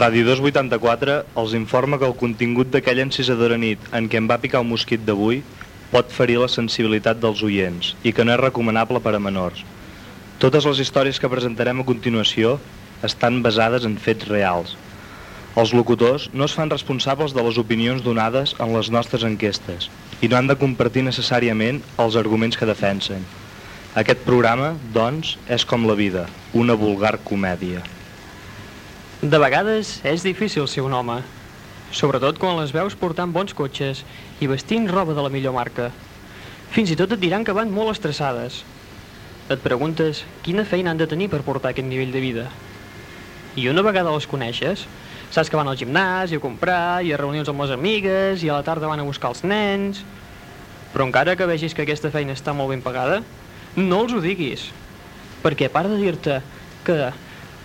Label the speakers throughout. Speaker 1: Ràdio 284 els informa que el contingut d'aquella encisadora nit en què em va picar el mosquit d'avui pot ferir la sensibilitat dels oients i que no és recomanable per a menors. Totes les històries que presentarem a continuació estan basades en fets reals. Els locutors no es fan responsables de les opinions donades en les nostres enquestes i no han de compartir necessàriament els arguments que defensen. Aquest programa, doncs, és com la vida, una vulgar comèdia.
Speaker 2: De vegades és difícil ser un home, sobretot quan les veus portant bons cotxes i vestint roba de la millor marca. Fins i tot et diran que van molt estressades. Et preguntes quina feina han de tenir per portar aquest nivell de vida. I una vegada les coneixes, saps que van al gimnàs i a comprar i a reunions amb les amigues i a la tarda van a buscar els nens... Però encara que vegis que aquesta feina està molt ben pagada, no els ho diguis. Perquè a part de dir-te que,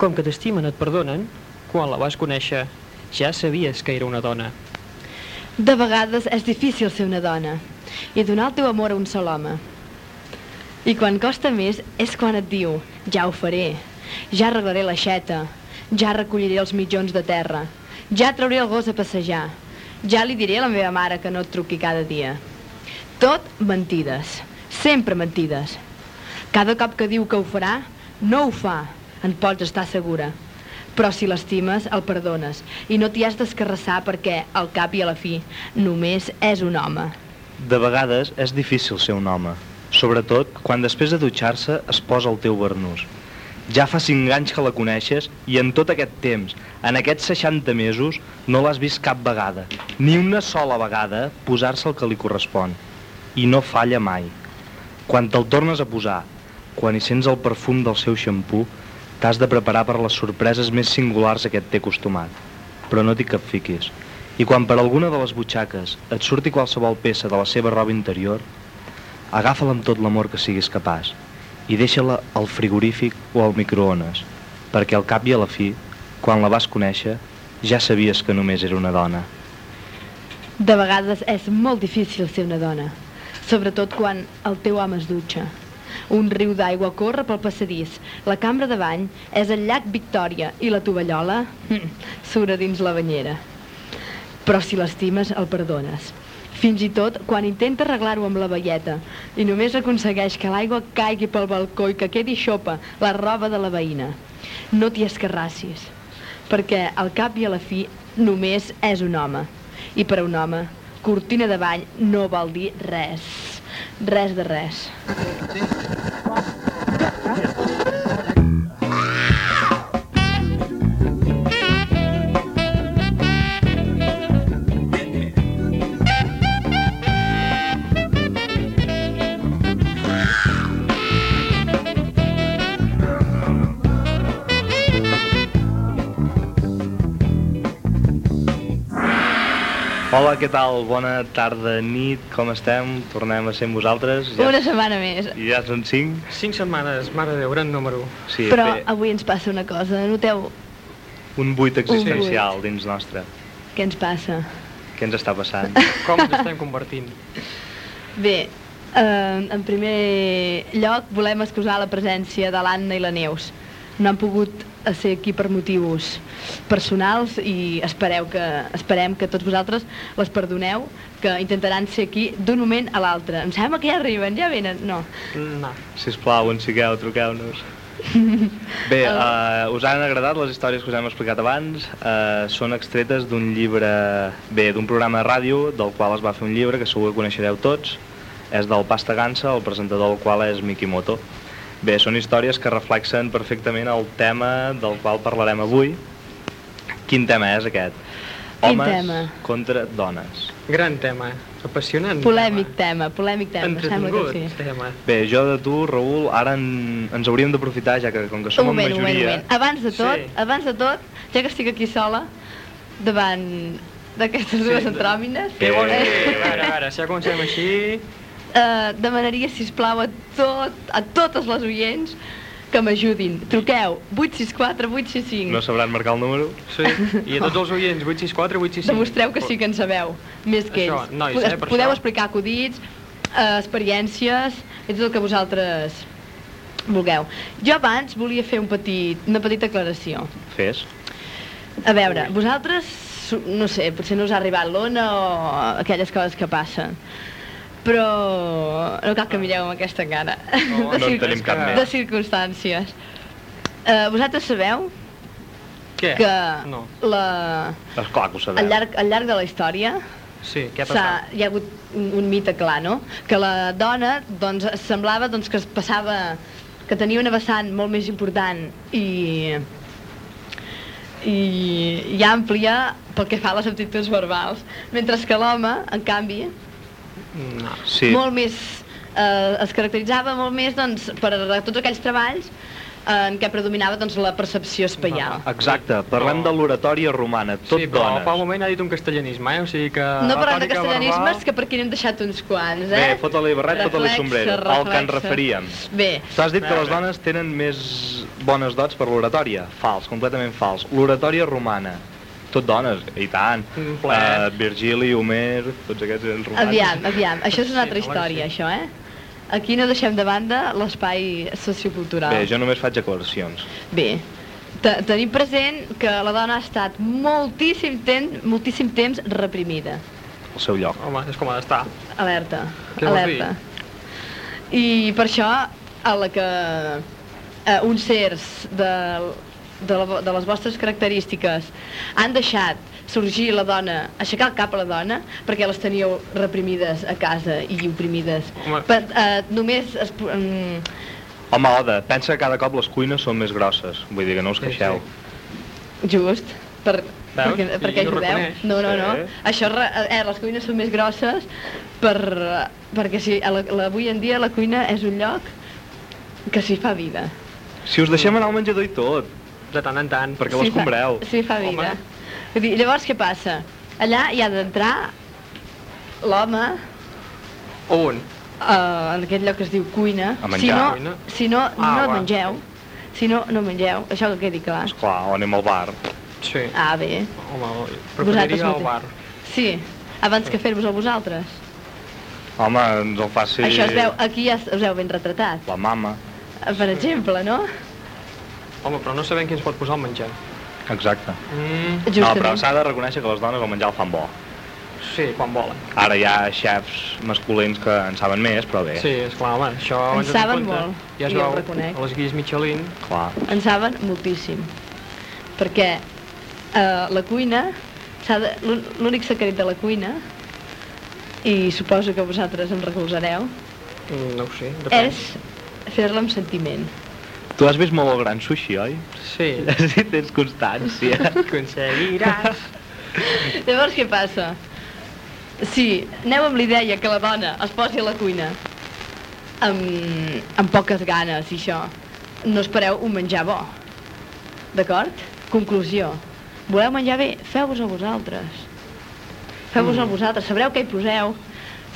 Speaker 2: com que t'estimen et perdonen, quan la vas conèixer ja sabies que era una dona.
Speaker 3: De vegades és difícil ser una dona i donar el teu amor a un sol home. I quan costa més és quan et diu, ja ho faré, ja arreglaré l'aixeta, ja recolliré els mitjons de terra, ja trauré el gos a passejar, ja li diré a la meva mare que no et truqui cada dia. Tot mentides, sempre mentides. Cada cop que diu que ho farà, no ho fa, en pots estar segura. Però si l'estimes, el perdones i no t'hi has d'escarrassar perquè, al cap i a la fi, només és un home.
Speaker 1: De vegades és difícil ser un home, sobretot quan després de dutxar-se es posa el teu barnús. Ja fa 5 anys que la coneixes i en tot aquest temps, en aquests 60 mesos, no l'has vist cap vegada, ni una sola vegada, posar-se el que li correspon. I no falla mai. Quan te'l tornes a posar, quan hi sents el perfum del seu xampú, t'has de preparar per les sorpreses més singulars a què et té acostumat. Però no t'hi capfiquis. I quan per alguna de les butxaques et surti qualsevol peça de la seva roba interior, agafa-la amb tot l'amor que siguis capaç i deixa-la al frigorífic o al microones, perquè al cap i a la fi, quan la vas conèixer, ja sabies que només era una dona.
Speaker 3: De vegades és molt difícil ser una dona, sobretot quan el teu home es dutxa. Un riu d'aigua corre pel passadís, la cambra de bany és el llac Victòria i la tovallola hm, surt a dins la banyera. Però si l'estimes, el perdones. Fins i tot quan intenta arreglar-ho amb la veieta i només aconsegueix que l'aigua caigui pel balcó i que quedi xopa la roba de la veïna. No t'hi escarrassis, perquè al cap i a la fi només és un home. I per a un home, cortina de bany no vol dir res. Res de res.
Speaker 1: Hola, què tal? Bona tarda, nit, com estem? Tornem a ser amb vosaltres. Ja,
Speaker 3: Una setmana més.
Speaker 1: ja són cinc?
Speaker 2: Cinc setmanes, mare de Déu, gran número.
Speaker 1: Sí,
Speaker 3: Però
Speaker 1: bé,
Speaker 3: avui ens passa una cosa, noteu
Speaker 1: un buit
Speaker 3: buit.
Speaker 1: existencial dins nostre.
Speaker 3: què ens passa?
Speaker 1: Què ens està passant?
Speaker 2: Com ens estem convertint?
Speaker 3: Bé, eh, en primer lloc volem excusar la presència de l'Anna i la Neus. No han pogut eh, ser aquí per motius personals i espereu que, esperem que tots vosaltres les perdoneu, que intentaran ser aquí d'un moment a l'altre. Em sembla que ja arriben, ja venen. No,
Speaker 2: No.
Speaker 1: Si us plau, ens fiqueu, truqueu-nos. Bé, uh, us han agradat les històries que us hem explicat abans. Uh, són extretes d'un llibre, bé, d'un programa de ràdio, del qual es va fer un llibre que segur que coneixereu tots. És del Pasta Gansa, el presentador del qual és Miki Moto. Bé, són històries que reflexen perfectament el tema del qual parlarem avui. Quin tema és aquest?
Speaker 3: Quin
Speaker 1: Homes
Speaker 3: tema?
Speaker 1: contra dones.
Speaker 2: Gran tema. Apassionant.
Speaker 3: polèmic tema, polèmic tema.
Speaker 2: tema.
Speaker 3: em Sembla
Speaker 2: Entretingut
Speaker 3: que sí.
Speaker 2: tema.
Speaker 1: Bé, jo de tu, Raül, ara en, ens hauríem d'aprofitar, ja que com que som
Speaker 3: Un moment,
Speaker 1: en
Speaker 3: un
Speaker 1: majoria...
Speaker 3: moment, un moment. Abans de tot,
Speaker 2: Sí.
Speaker 3: abans de tot, ja que estic aquí sola, davant d'aquestes dues antròmines...
Speaker 2: Que bon...
Speaker 3: eh,
Speaker 2: Eh, a veure, a veure, si ja comencem així...
Speaker 3: Eh, demanaria, si plau a, tot, a totes les oients que m'ajudin. Truqueu 864 865.
Speaker 1: No sabran marcar el número?
Speaker 2: Sí, i a tots els oients, 864, 865...
Speaker 3: Demostreu que sí que en sabeu, més que
Speaker 2: Això,
Speaker 3: ells.
Speaker 2: nois,
Speaker 3: Podes-
Speaker 2: eh, per
Speaker 3: Podeu
Speaker 2: això.
Speaker 3: explicar acudits, eh, experiències, i tot el que vosaltres vulgueu. Jo abans volia fer un petit, una petita aclaració.
Speaker 1: Fes.
Speaker 3: A veure, vosaltres, su- no sé, potser no us ha arribat l'ona o aquelles coses que passen, però no cal que mireu amb aquesta cara
Speaker 4: No, no en
Speaker 3: cir-
Speaker 4: tenim cap més.
Speaker 3: de circumstàncies. Uh, vosaltres sabeu
Speaker 2: Què?
Speaker 3: que
Speaker 2: No.
Speaker 3: la,
Speaker 1: Esclar que ho sabeu.
Speaker 3: al, llarg, al llarg de la història
Speaker 2: Sí, què ha
Speaker 3: s'ha-
Speaker 2: passat?
Speaker 3: hi ha hagut un, un mite clar, no? Que la dona doncs, semblava doncs, que es passava que tenia una vessant molt més important i, i, i àmplia pel que fa a les aptituds verbals, mentre que l'home, en canvi,
Speaker 2: No.
Speaker 1: Sí,
Speaker 3: molt més eh, es caracteritzava molt més doncs, per tots aquells treballs eh, en què predominava doncs, la percepció espaial.
Speaker 1: exacte. Parlem
Speaker 2: No.
Speaker 1: de l'oratòria romana, tot
Speaker 2: sí, però
Speaker 1: dones.
Speaker 2: fa un moment ha dit un castellanisme, eh? O sigui que...
Speaker 3: No parlem de
Speaker 2: retòrica
Speaker 3: castellanismes,
Speaker 2: verbal-
Speaker 3: que per aquí n'hem deixat uns quants, eh?
Speaker 1: Ah, Bé, fota-li barret, fota-li
Speaker 3: Reflexa,
Speaker 1: sombrero, al que ens
Speaker 3: reflexa.
Speaker 1: referíem.
Speaker 3: Bé,
Speaker 1: T'has dit que les
Speaker 2: Veure.
Speaker 1: dones tenen més bones dots per l'oratòria? Fals, completament fals. L'oratòria romana, tot dones, i tant.
Speaker 2: Un plaer.
Speaker 1: Eh, Virgili, Homer, tots aquests eren romans.
Speaker 3: aviam, aviam, això és una altra
Speaker 2: Sí, home,
Speaker 3: història,
Speaker 2: sí.
Speaker 3: això, eh? Aquí no deixem de banda l'espai sociocultural.
Speaker 1: Bé, jo només faig declaracions.
Speaker 3: Bé, te- tenim present que la dona ha estat moltíssim temps, moltíssim temps reprimida.
Speaker 1: Al seu lloc.
Speaker 2: Home, és com ha d'estar.
Speaker 3: Alerta,
Speaker 2: Què vols
Speaker 3: alerta. I per això, a la que eh, uns certs de, de, la, vo- de les vostres característiques han deixat sorgir la dona, aixecar el cap a la dona, perquè les teníeu reprimides a casa i oprimides.
Speaker 2: Home.
Speaker 3: Per, eh, només es, po- mm,
Speaker 1: Home, Oda, pensa que cada cop les cuines són més grosses. Vull dir que no us
Speaker 2: Sí,
Speaker 1: queixeu.
Speaker 2: sí.
Speaker 3: just per,
Speaker 2: Veus?
Speaker 3: perquè,
Speaker 2: Sí,
Speaker 3: perquè
Speaker 2: ho
Speaker 3: ajudeu.
Speaker 2: reconeix.
Speaker 3: No, no,
Speaker 1: Sí.
Speaker 3: no. Això, re- eh, les cuines són més grosses per, eh, perquè si, a la, la, avui en dia la cuina és un lloc que s'hi fa vida.
Speaker 1: Si us deixem anar al menjador i tot,
Speaker 2: De tant en tant.
Speaker 1: perquè
Speaker 3: S'hi
Speaker 1: l'escombreu.
Speaker 3: fa- S'hi fa
Speaker 2: Home.
Speaker 3: vida. Vull dir, llavors què passa? Allà hi ha d'entrar l'home
Speaker 2: Un.
Speaker 3: eh, en aquest lloc que es diu cuina.
Speaker 1: A menjar.
Speaker 3: Si
Speaker 2: Cuina?
Speaker 3: no, si no,
Speaker 2: Ah,
Speaker 3: no
Speaker 2: va.
Speaker 3: mengeu. Si no, no mengeu. Això que quedi clar.
Speaker 1: Esclar, o anem al bar.
Speaker 2: Sí.
Speaker 3: Ah, bé.
Speaker 2: Home,
Speaker 3: Vosaltres
Speaker 2: preferiria el
Speaker 3: mateix.
Speaker 2: bar.
Speaker 3: Sí, abans que fer-vos a vosaltres.
Speaker 1: Home, ens el faci...
Speaker 3: Això es veu, aquí ja es- us heu ben retratat,
Speaker 1: La mama.
Speaker 3: eh, per exemple, no?
Speaker 2: Home, però no sabem qui ens pot posar el menjar.
Speaker 1: Exacte.
Speaker 2: Mm,
Speaker 1: No, però
Speaker 3: Justament.
Speaker 1: s'ha de reconèixer que les dones el menjar el fan bo.
Speaker 2: sí, quan volen.
Speaker 1: Ara hi ha xefs masculins que en saben més, però bé,
Speaker 2: Sí, esclar, home, això
Speaker 3: En
Speaker 2: ens ho
Speaker 3: saben
Speaker 2: compte.
Speaker 3: molt,
Speaker 2: Ja es
Speaker 3: i ho
Speaker 2: veu,
Speaker 3: reconec.
Speaker 2: a les guies Michelin,
Speaker 1: clar.
Speaker 3: En saben moltíssim. Perquè eh, la cuina, s'ha de- l'ú- l'únic secret de la cuina, i suposo que vosaltres em recolzareu,
Speaker 2: mm, no ho sé, depèn.
Speaker 3: és fer-la amb sentiment.
Speaker 1: Tu has vist molt el gran sushi, oi?
Speaker 2: Sí,
Speaker 1: Sí, tens constància.
Speaker 2: aconseguiràs.
Speaker 3: Llavors què passa? Si aneu amb la idea que la dona es posi a la cuina amb, amb poques ganes i això, no espereu un menjar bo. D'acord? Conclusió. Voleu menjar bé? Feu-vos a vosaltres. Feu-vos
Speaker 2: Mm.
Speaker 3: a vosaltres. Sabreu què hi poseu.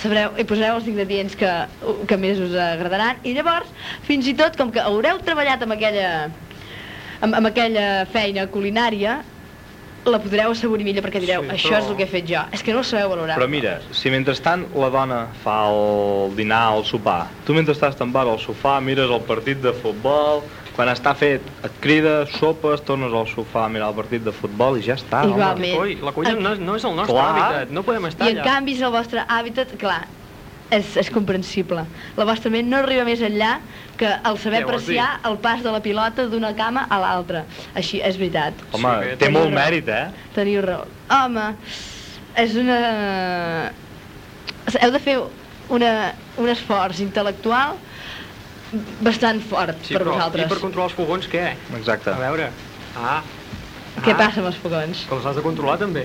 Speaker 3: Sabreu, hi poseu els ingredients que, que més us agradaran. I llavors, fins i tot, com que haureu treballat amb aquella, amb, amb aquella feina culinària, la podreu assaborir millor perquè direu,
Speaker 2: Sí,
Speaker 3: això
Speaker 2: però-
Speaker 3: és el que he fet jo. És que no ho sabeu valorar.
Speaker 1: Però mira, si mentrestant la dona fa el dinar o el sopar, tu mentre estàs tambat al sofà, mires el partit de futbol, quan està fet et crides, sopes, tornes al sofà a mirar el partit de futbol i ja està. home.
Speaker 3: Ah, Igualment. Bé.
Speaker 2: Ui, la cuina no, és- no és el nostre
Speaker 1: Clar.
Speaker 2: hàbitat, no podem estar
Speaker 3: I en
Speaker 2: allà.
Speaker 3: canvi, si el vostre hàbitat, clar, és, és comprensible. La vostra ment no arriba més enllà que el saber
Speaker 2: Què vols dir?
Speaker 3: apreciar el pas de la pilota d'una cama a l'altra. Així, és veritat.
Speaker 1: Home,
Speaker 2: Sí, bé,
Speaker 1: té
Speaker 3: teniu
Speaker 1: molt
Speaker 3: raó.
Speaker 1: mèrit, eh?
Speaker 3: Teniu raó. Home, és una... Heu de fer una, un esforç intel·lectual bastant fort
Speaker 2: sí,
Speaker 3: per
Speaker 2: però,
Speaker 3: vosaltres.
Speaker 2: I per controlar els fogons, què?
Speaker 1: Exacte.
Speaker 2: A veure. Ah.
Speaker 3: Què
Speaker 2: ah,
Speaker 3: passa amb els fogons?
Speaker 2: Que els has de controlar, també.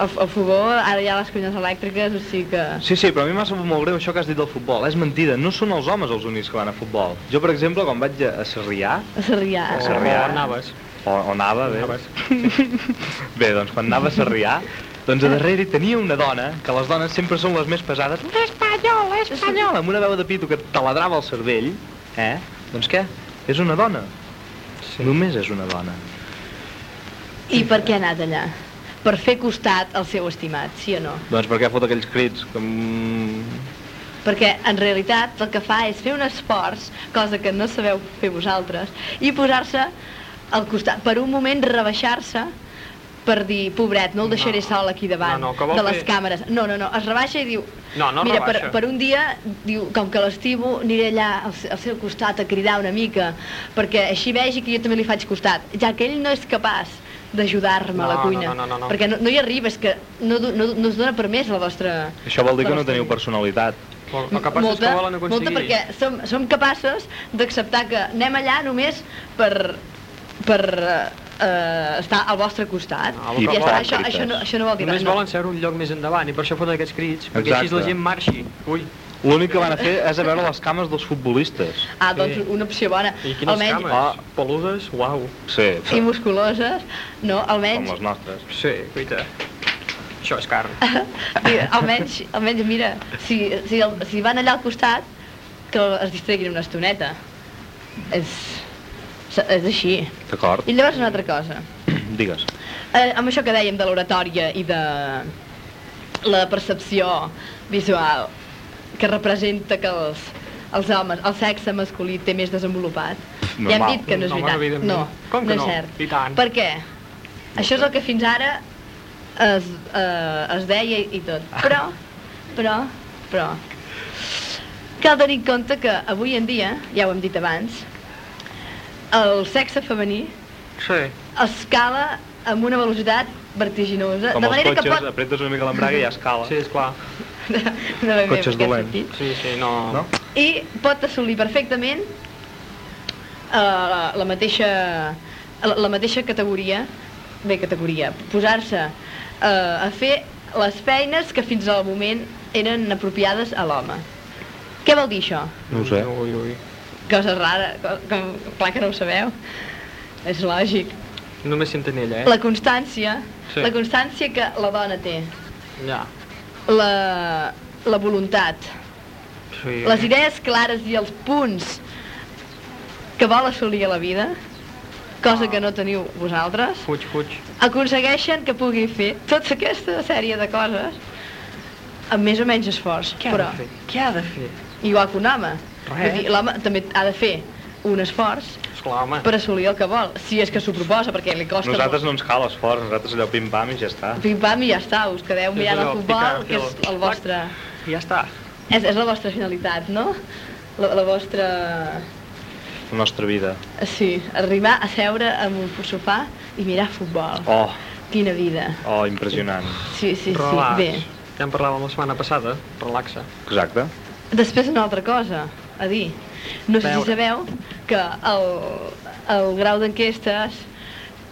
Speaker 3: El, el fogó, ara hi ha les cuines elèctriques, o sigui que...
Speaker 1: Sí, sí, però a mi m'ha sabut molt greu això que has dit del futbol. És mentida, no són els homes els únics que van a futbol. Jo, per exemple, quan vaig a a Sarrià,
Speaker 3: A Sarrià.
Speaker 1: A
Speaker 2: o,
Speaker 1: Sarrià.
Speaker 2: o anaves.
Speaker 1: o, o anava, bé,
Speaker 2: Anaves.
Speaker 1: Bé, doncs quan anava a Sarrià, doncs a darrere hi tenia una dona, que les dones sempre són les més pesades, l'espanyol, l'espanyol, amb una veu de pito que te ladrava el cervell, eh? Doncs què? És una dona.
Speaker 2: Sí.
Speaker 1: Només és una dona.
Speaker 3: I per què ha anat allà? Per fer costat al seu estimat, sí o no?
Speaker 1: Doncs per què fot aquells crits? Com...
Speaker 3: Perquè en realitat el que fa és fer un esforç, cosa que no sabeu fer vosaltres, i posar-se al costat, per un moment rebaixar-se per dir, pobret, no el deixaré
Speaker 2: No.
Speaker 3: sol aquí davant
Speaker 2: No, no, que vol
Speaker 3: de les
Speaker 2: fer-
Speaker 3: càmeres. No, no, no, es rebaixa i diu...
Speaker 2: No, no
Speaker 3: Mira, per,
Speaker 2: rebaixa.
Speaker 3: per un dia, diu, com que l'estimo, aniré allà al, se- al seu costat a cridar una mica, perquè així vegi que jo també li faig costat, ja que ell no és capaç d'ajudar-me a la
Speaker 2: No, no,
Speaker 3: cuina.
Speaker 2: no, no, no, no.
Speaker 3: Perquè no, no hi arriba, és que no, do- no, no es dona per més la vostra...
Speaker 1: Això vol dir que
Speaker 3: la
Speaker 1: no
Speaker 3: vostra
Speaker 1: teniu
Speaker 3: vida.
Speaker 1: personalitat.
Speaker 2: Vol- El que passa és que volen aconseguir...
Speaker 3: Molta perquè som, som capaces d'acceptar que anem allà només per, per eh, estar al vostre costat.
Speaker 2: No,
Speaker 3: I
Speaker 2: Ah, el que
Speaker 3: ja està,
Speaker 2: volen-
Speaker 3: això, això, no, això no vol dir
Speaker 2: Només
Speaker 3: res.
Speaker 2: volen ser un lloc més endavant i per això foten aquests crits, perquè així la
Speaker 1: Exacte.
Speaker 2: gent marxi. Ui,
Speaker 1: L'únic que van a fer és a veure les cames dels futbolistes.
Speaker 3: No. Ah, doncs
Speaker 2: Sí.
Speaker 3: una opció bona.
Speaker 2: i quines
Speaker 3: almenys,
Speaker 2: cames. Ah. Peludes, uau.
Speaker 1: Sí,
Speaker 3: I
Speaker 1: com
Speaker 3: musculoses, no, almenys,
Speaker 1: les nostres.
Speaker 2: Sí, guaita. Això és carn.
Speaker 3: i, almenys, almenys mira, si, si, el, si van allà al costat, que es distreguin una estoneta. És, és així.
Speaker 1: D'acord?
Speaker 3: I llavors una altra cosa.
Speaker 1: Digues.
Speaker 3: Eh, amb això que dèiem de l'oratòria i de la percepció visual que representa que els, els homes, el sexe masculí té més desenvolupat. ja hem
Speaker 1: normal.
Speaker 3: dit que no és
Speaker 2: Home,
Speaker 3: veritat.
Speaker 2: evidentment.
Speaker 3: No,
Speaker 2: Com que
Speaker 3: no
Speaker 2: no?
Speaker 3: és cert.
Speaker 2: I tant.
Speaker 3: Per què? Això és el que fins ara es, eh, es deia i tot. Però, però, però, cal tenir en compte que avui en dia, ja ho hem dit abans, el sexe femení
Speaker 2: Sí.
Speaker 3: escala amb una velocitat vertiginosa,
Speaker 1: Com
Speaker 3: de
Speaker 1: els
Speaker 3: manera
Speaker 1: cotxes,
Speaker 3: que pot...
Speaker 1: apretes una mica l'embraga i ja escala.
Speaker 2: Sí, esclar.
Speaker 3: No, no,
Speaker 1: Cotxes
Speaker 3: no,
Speaker 1: dolents.
Speaker 3: aquest sentit.
Speaker 2: Sí, sí, no...
Speaker 1: No?
Speaker 3: I pot assolir perfectament eh, la, la mateixa la, la mateixa categoria, bé, categoria, posar-se eh, a fer les feines que fins al moment eren apropiades a l'home. Què vol dir això?
Speaker 1: No ho sé.
Speaker 2: Ui, ui.
Speaker 3: Cosa rara, co- com, clar que no ho sabeu. És lògic.
Speaker 2: Només si entén ella, eh?
Speaker 3: La constància,
Speaker 2: Sí.
Speaker 3: la constància que la dona té,
Speaker 2: Ja.
Speaker 3: la, la voluntat,
Speaker 2: Sí.
Speaker 3: les idees clares i els punts que vol assolir a la vida, cosa que no teniu vosaltres,
Speaker 2: Fuig, fuig.
Speaker 3: aconsegueixen que pugui fer tota aquesta sèrie de coses amb més o menys esforç,
Speaker 2: Què
Speaker 3: però
Speaker 2: ha de fer? Què ha de fer?
Speaker 3: igual que un home.
Speaker 2: Res.
Speaker 3: Vull dir, L'home també ha de fer un esforç
Speaker 2: Esclar, home.
Speaker 3: per assolir el que vol, si és que s'ho proposa, perquè li costa
Speaker 1: Nosaltres no ens cal esforç, nosaltres allò pim-pam i ja està.
Speaker 3: molt. Pim-pam i ja està, us quedeu
Speaker 2: És
Speaker 3: mirant el
Speaker 2: allò,
Speaker 3: futbol,
Speaker 2: picar,
Speaker 3: que és
Speaker 2: fil.
Speaker 3: el vostre...
Speaker 2: I ja està.
Speaker 3: És, és la vostra finalitat, no? La, la vostra...
Speaker 1: La nostra vida.
Speaker 3: Sí, arribar a seure en un sofà i mirar futbol.
Speaker 1: Oh,
Speaker 3: Quina vida.
Speaker 1: oh, impressionant.
Speaker 3: Sí, sí, sí,
Speaker 2: Relax.
Speaker 3: bé.
Speaker 2: Ja en parlàvem la setmana passada. Relaxa.
Speaker 1: Exacte.
Speaker 3: Després una altra cosa a dir. No sé si
Speaker 2: Veure.
Speaker 3: sabeu que el, el grau d'enquestes,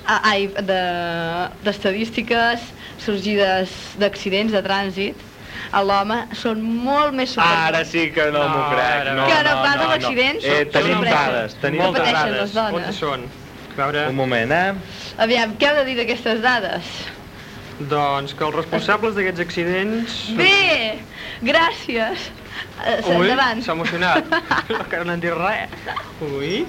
Speaker 3: a- ai, de- d'estadístiques de, sorgides d'accidents de trànsit, a l'home són molt més
Speaker 1: Ara
Speaker 3: superiors.
Speaker 1: sí que no,
Speaker 2: No,
Speaker 1: m'ho crec.
Speaker 2: ara
Speaker 1: No,
Speaker 3: Que no
Speaker 1: no,
Speaker 3: pas
Speaker 1: no,
Speaker 3: els accidents,
Speaker 1: Eh,
Speaker 3: són
Speaker 1: tenim
Speaker 3: sorpreses.
Speaker 1: dades, tenim
Speaker 3: Moltes
Speaker 1: dades.
Speaker 3: pateixen les dones.
Speaker 2: Quantes són? A veure,
Speaker 1: Un moment, eh?
Speaker 3: Aviam, què heu de dir d'aquestes dades?
Speaker 2: doncs que els responsables d'aquests accidents...
Speaker 3: Bé, gràcies. Eh,
Speaker 2: Ui,
Speaker 3: endavant.
Speaker 2: s'ha emocionat. Encara no han dit res. Ui.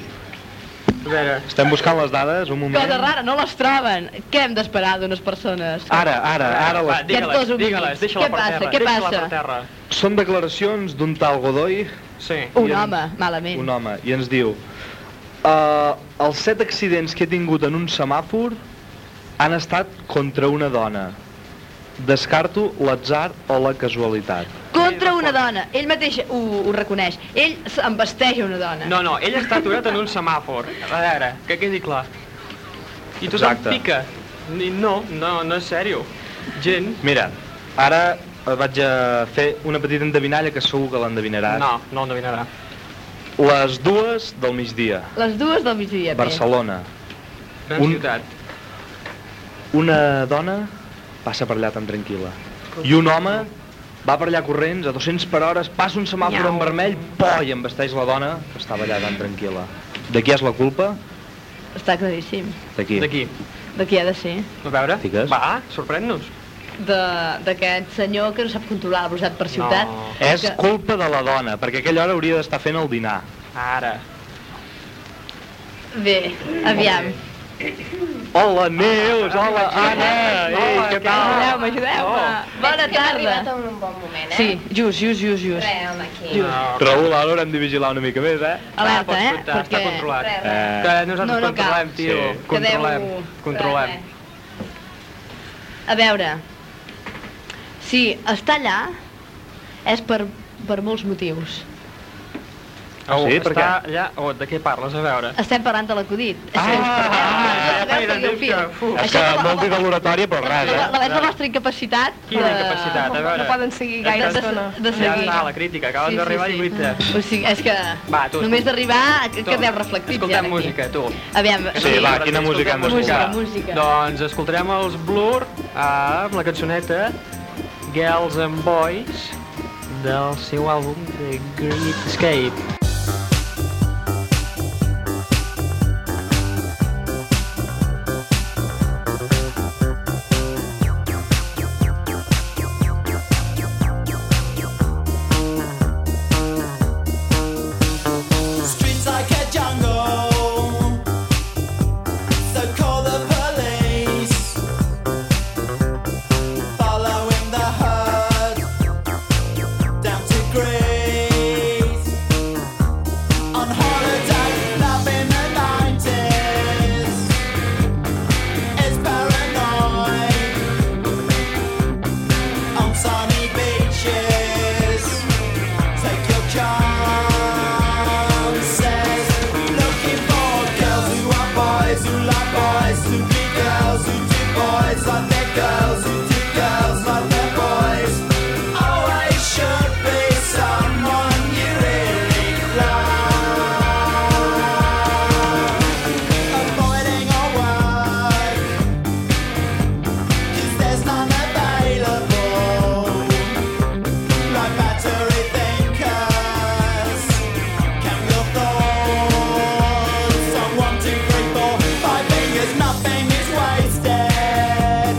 Speaker 2: A veure,
Speaker 1: Estem buscant les dades, un moment.
Speaker 3: Cosa rara, no les troben. Què hem d'esperar d'unes persones?
Speaker 1: Ara, ara, ara.
Speaker 2: va,
Speaker 1: Les...
Speaker 3: Aquests
Speaker 2: digue-les,
Speaker 3: dos humils.
Speaker 2: digue-les, deixa-la
Speaker 3: Què
Speaker 2: per
Speaker 3: passa,
Speaker 2: terra,
Speaker 3: què
Speaker 2: deixa-la
Speaker 3: passa?
Speaker 2: per terra.
Speaker 1: Són declaracions d'un tal Godoy,
Speaker 2: Sí.
Speaker 3: Un
Speaker 1: i en-
Speaker 3: home, malament.
Speaker 1: un home, i ens diu uh, els set accidents que he tingut en un semàfor han estat contra una dona. Descarto l'atzar o la casualitat.
Speaker 3: Contra una dona. Ell mateix ho, ho reconeix. Ell s- envesteix una dona.
Speaker 2: No, no, ell està aturat en un semàfor. A veure, que quedi clar. I tothom
Speaker 1: Exacte.
Speaker 2: pica. Ni- No, no, no és sèrio. Gent...
Speaker 1: Mira, ara eh, vaig a fer una petita endevinalla que segur que l'endevinaràs.
Speaker 2: No, no ho endevinarà.
Speaker 1: Les dues del migdia,
Speaker 3: Les dues del migdia. bé.
Speaker 1: Barcelona.
Speaker 2: Gran
Speaker 1: Un-
Speaker 2: ciutat.
Speaker 1: Una dona passa per allà tan tranquil·la. I un home va per allà corrents a 200 per hores, passa un semàfor en vermell, po, i embesteix la dona que estava allà tan tranquil·la. De qui és la culpa?
Speaker 3: Està claríssim.
Speaker 1: D'aquí.
Speaker 2: D'aquí.
Speaker 3: De qui ha de ser?
Speaker 2: A veure,
Speaker 1: Digues.
Speaker 2: va, sorprèn-nos.
Speaker 3: De- D'aquest senyor que no sap controlar la velocitat per ciutat.
Speaker 2: No.
Speaker 1: És
Speaker 3: Que...
Speaker 1: culpa de la dona, perquè a aquella hora hauria d'estar fent el dinar.
Speaker 2: Ara.
Speaker 3: Bé, aviam.
Speaker 1: Hola, Neus! Hola, Anna! Ei,
Speaker 2: Hola,
Speaker 1: què
Speaker 2: què
Speaker 1: tal?
Speaker 3: Ajudeu-me, ajudeu-me. Bona
Speaker 4: Veig que hem arribat
Speaker 3: tarda.
Speaker 4: en un bon moment, eh?
Speaker 3: Sí, just, just, just, just.
Speaker 4: Re, home, aquí.
Speaker 3: Just.
Speaker 1: Raül, ara haurem de vigilar una mica més, eh?
Speaker 3: Alerta,
Speaker 2: pots
Speaker 3: eh?
Speaker 2: comptar, Està controlat.
Speaker 4: Re, re.
Speaker 1: Eh,
Speaker 2: Que nosaltres
Speaker 3: No, no cal.
Speaker 2: controlem, tio.
Speaker 1: Sí.
Speaker 2: Controlem,
Speaker 3: Quedeu-
Speaker 2: controlem.
Speaker 4: Re,
Speaker 3: A veure, si està allà és per, per molts motius.
Speaker 1: Ah, sí? Per
Speaker 2: està allà... Oh, de què parles? A veure.
Speaker 3: Estem parlant de l'acudit.
Speaker 2: Ah, ja
Speaker 3: Veus
Speaker 2: feia
Speaker 3: que diu,
Speaker 2: temps que...
Speaker 3: fi,
Speaker 2: Fu.
Speaker 4: És que molt de l'oratòria, però res,
Speaker 3: La,
Speaker 4: eh?
Speaker 3: la veig la nostra incapacitat.
Speaker 2: Quina incapacitat, a
Speaker 5: No,
Speaker 2: veure.
Speaker 5: no poden seguir
Speaker 3: De,
Speaker 5: gaire
Speaker 3: de, de,
Speaker 5: estona.
Speaker 3: de
Speaker 2: Ja
Speaker 3: seguir.
Speaker 2: està, la crítica, acabes
Speaker 3: Sí, sí,
Speaker 2: d'arribar
Speaker 3: sí.
Speaker 2: i buites.
Speaker 3: O sigui, és que
Speaker 2: Va, tu, tu.
Speaker 3: només d'arribar que
Speaker 2: Tu.
Speaker 3: quedeu reflectits ja
Speaker 2: Escoltem
Speaker 3: aquí.
Speaker 2: música, tu.
Speaker 3: Aviam,
Speaker 4: Sí, va, quina
Speaker 2: escoltem
Speaker 4: música hem
Speaker 3: d'escoltar? Música, música.
Speaker 2: Doncs escoltarem els Blur amb la cançoneta Girls and Boys del seu àlbum The Great Escape.
Speaker 6: Streets like a jungle. So call the police. Following the herd down to Greece. On holiday, love in the 90s is paranoid. On sunny beaches. Take your chances. Looking for girls who are boys, who like boys, who be girls, who do boys like their girls, who do girls like their boys. Always should be someone you really love. Avoiding all work, 'cause there's none available. Like battery thinkers, count your thoughts. On one, two, three, four, five fingers, nothing is wasted.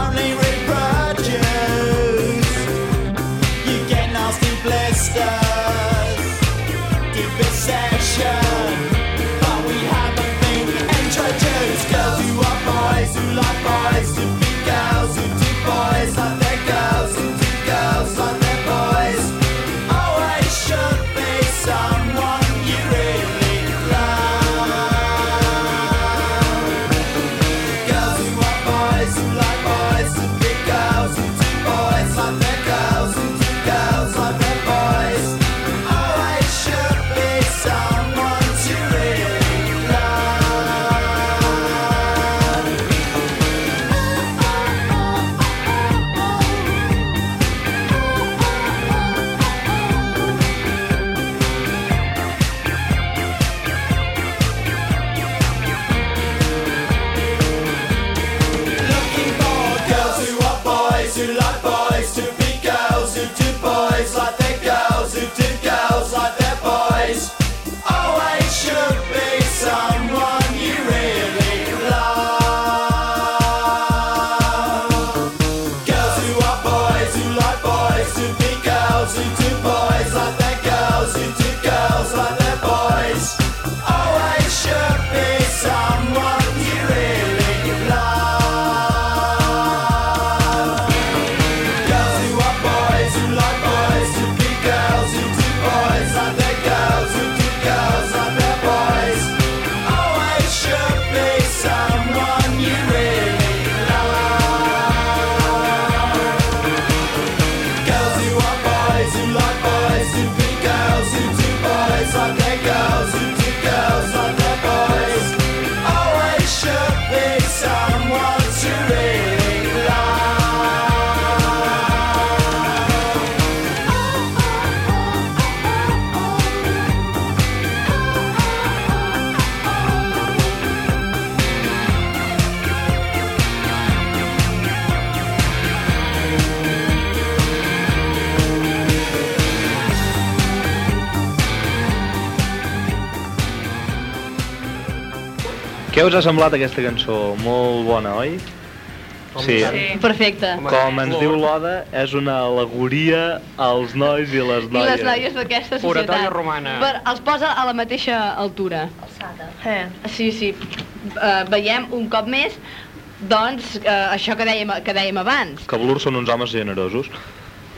Speaker 6: Only reproduce. You get nasty blisters. Deep obsession, but we haven't been introduced. Girls who are boys, who like boys, who be girls, who do boys like their girls, who do girls like their boys. Always should be someone you really love. Girls who are boys, who like boys, who be girls, who do boys like their girls, who do girls like their boys. Always should be someone you really love. Looking for girls who are boys, who like boys, to be girls, who do boys like their girls, who do girls like their boys. Always should be someone you really love. Girls who are boys, who like boys, to be girls, who do boys like their girls, who do girls like their boys. Always should be someone you really love. Girls who are boys, who like boys, who be girls, who do boys like their girls, who do girls like their boys. Always should be someone you really love. Girls who are boys, who like boys, who be girls, who do boys like their girls, who do girls like their boys. Always should be someone to really love.
Speaker 1: Què us ha semblat aquesta cançó? Molt bona, oi? Sí.
Speaker 5: Sí.
Speaker 3: Perfecte.
Speaker 2: Home,
Speaker 1: Com ens
Speaker 2: Flor.
Speaker 1: diu l'Oda, és una al·legoria als nois i les
Speaker 3: I
Speaker 1: noies.
Speaker 3: les noies d'aquesta societat.
Speaker 2: Oratòria romana.
Speaker 3: Per, els posa a la mateixa altura.
Speaker 5: Eh.
Speaker 3: Sí, sí. Uh, veiem un cop més, doncs, uh, això que dèiem, que dèiem abans.
Speaker 1: Que Blur són uns homes generosos.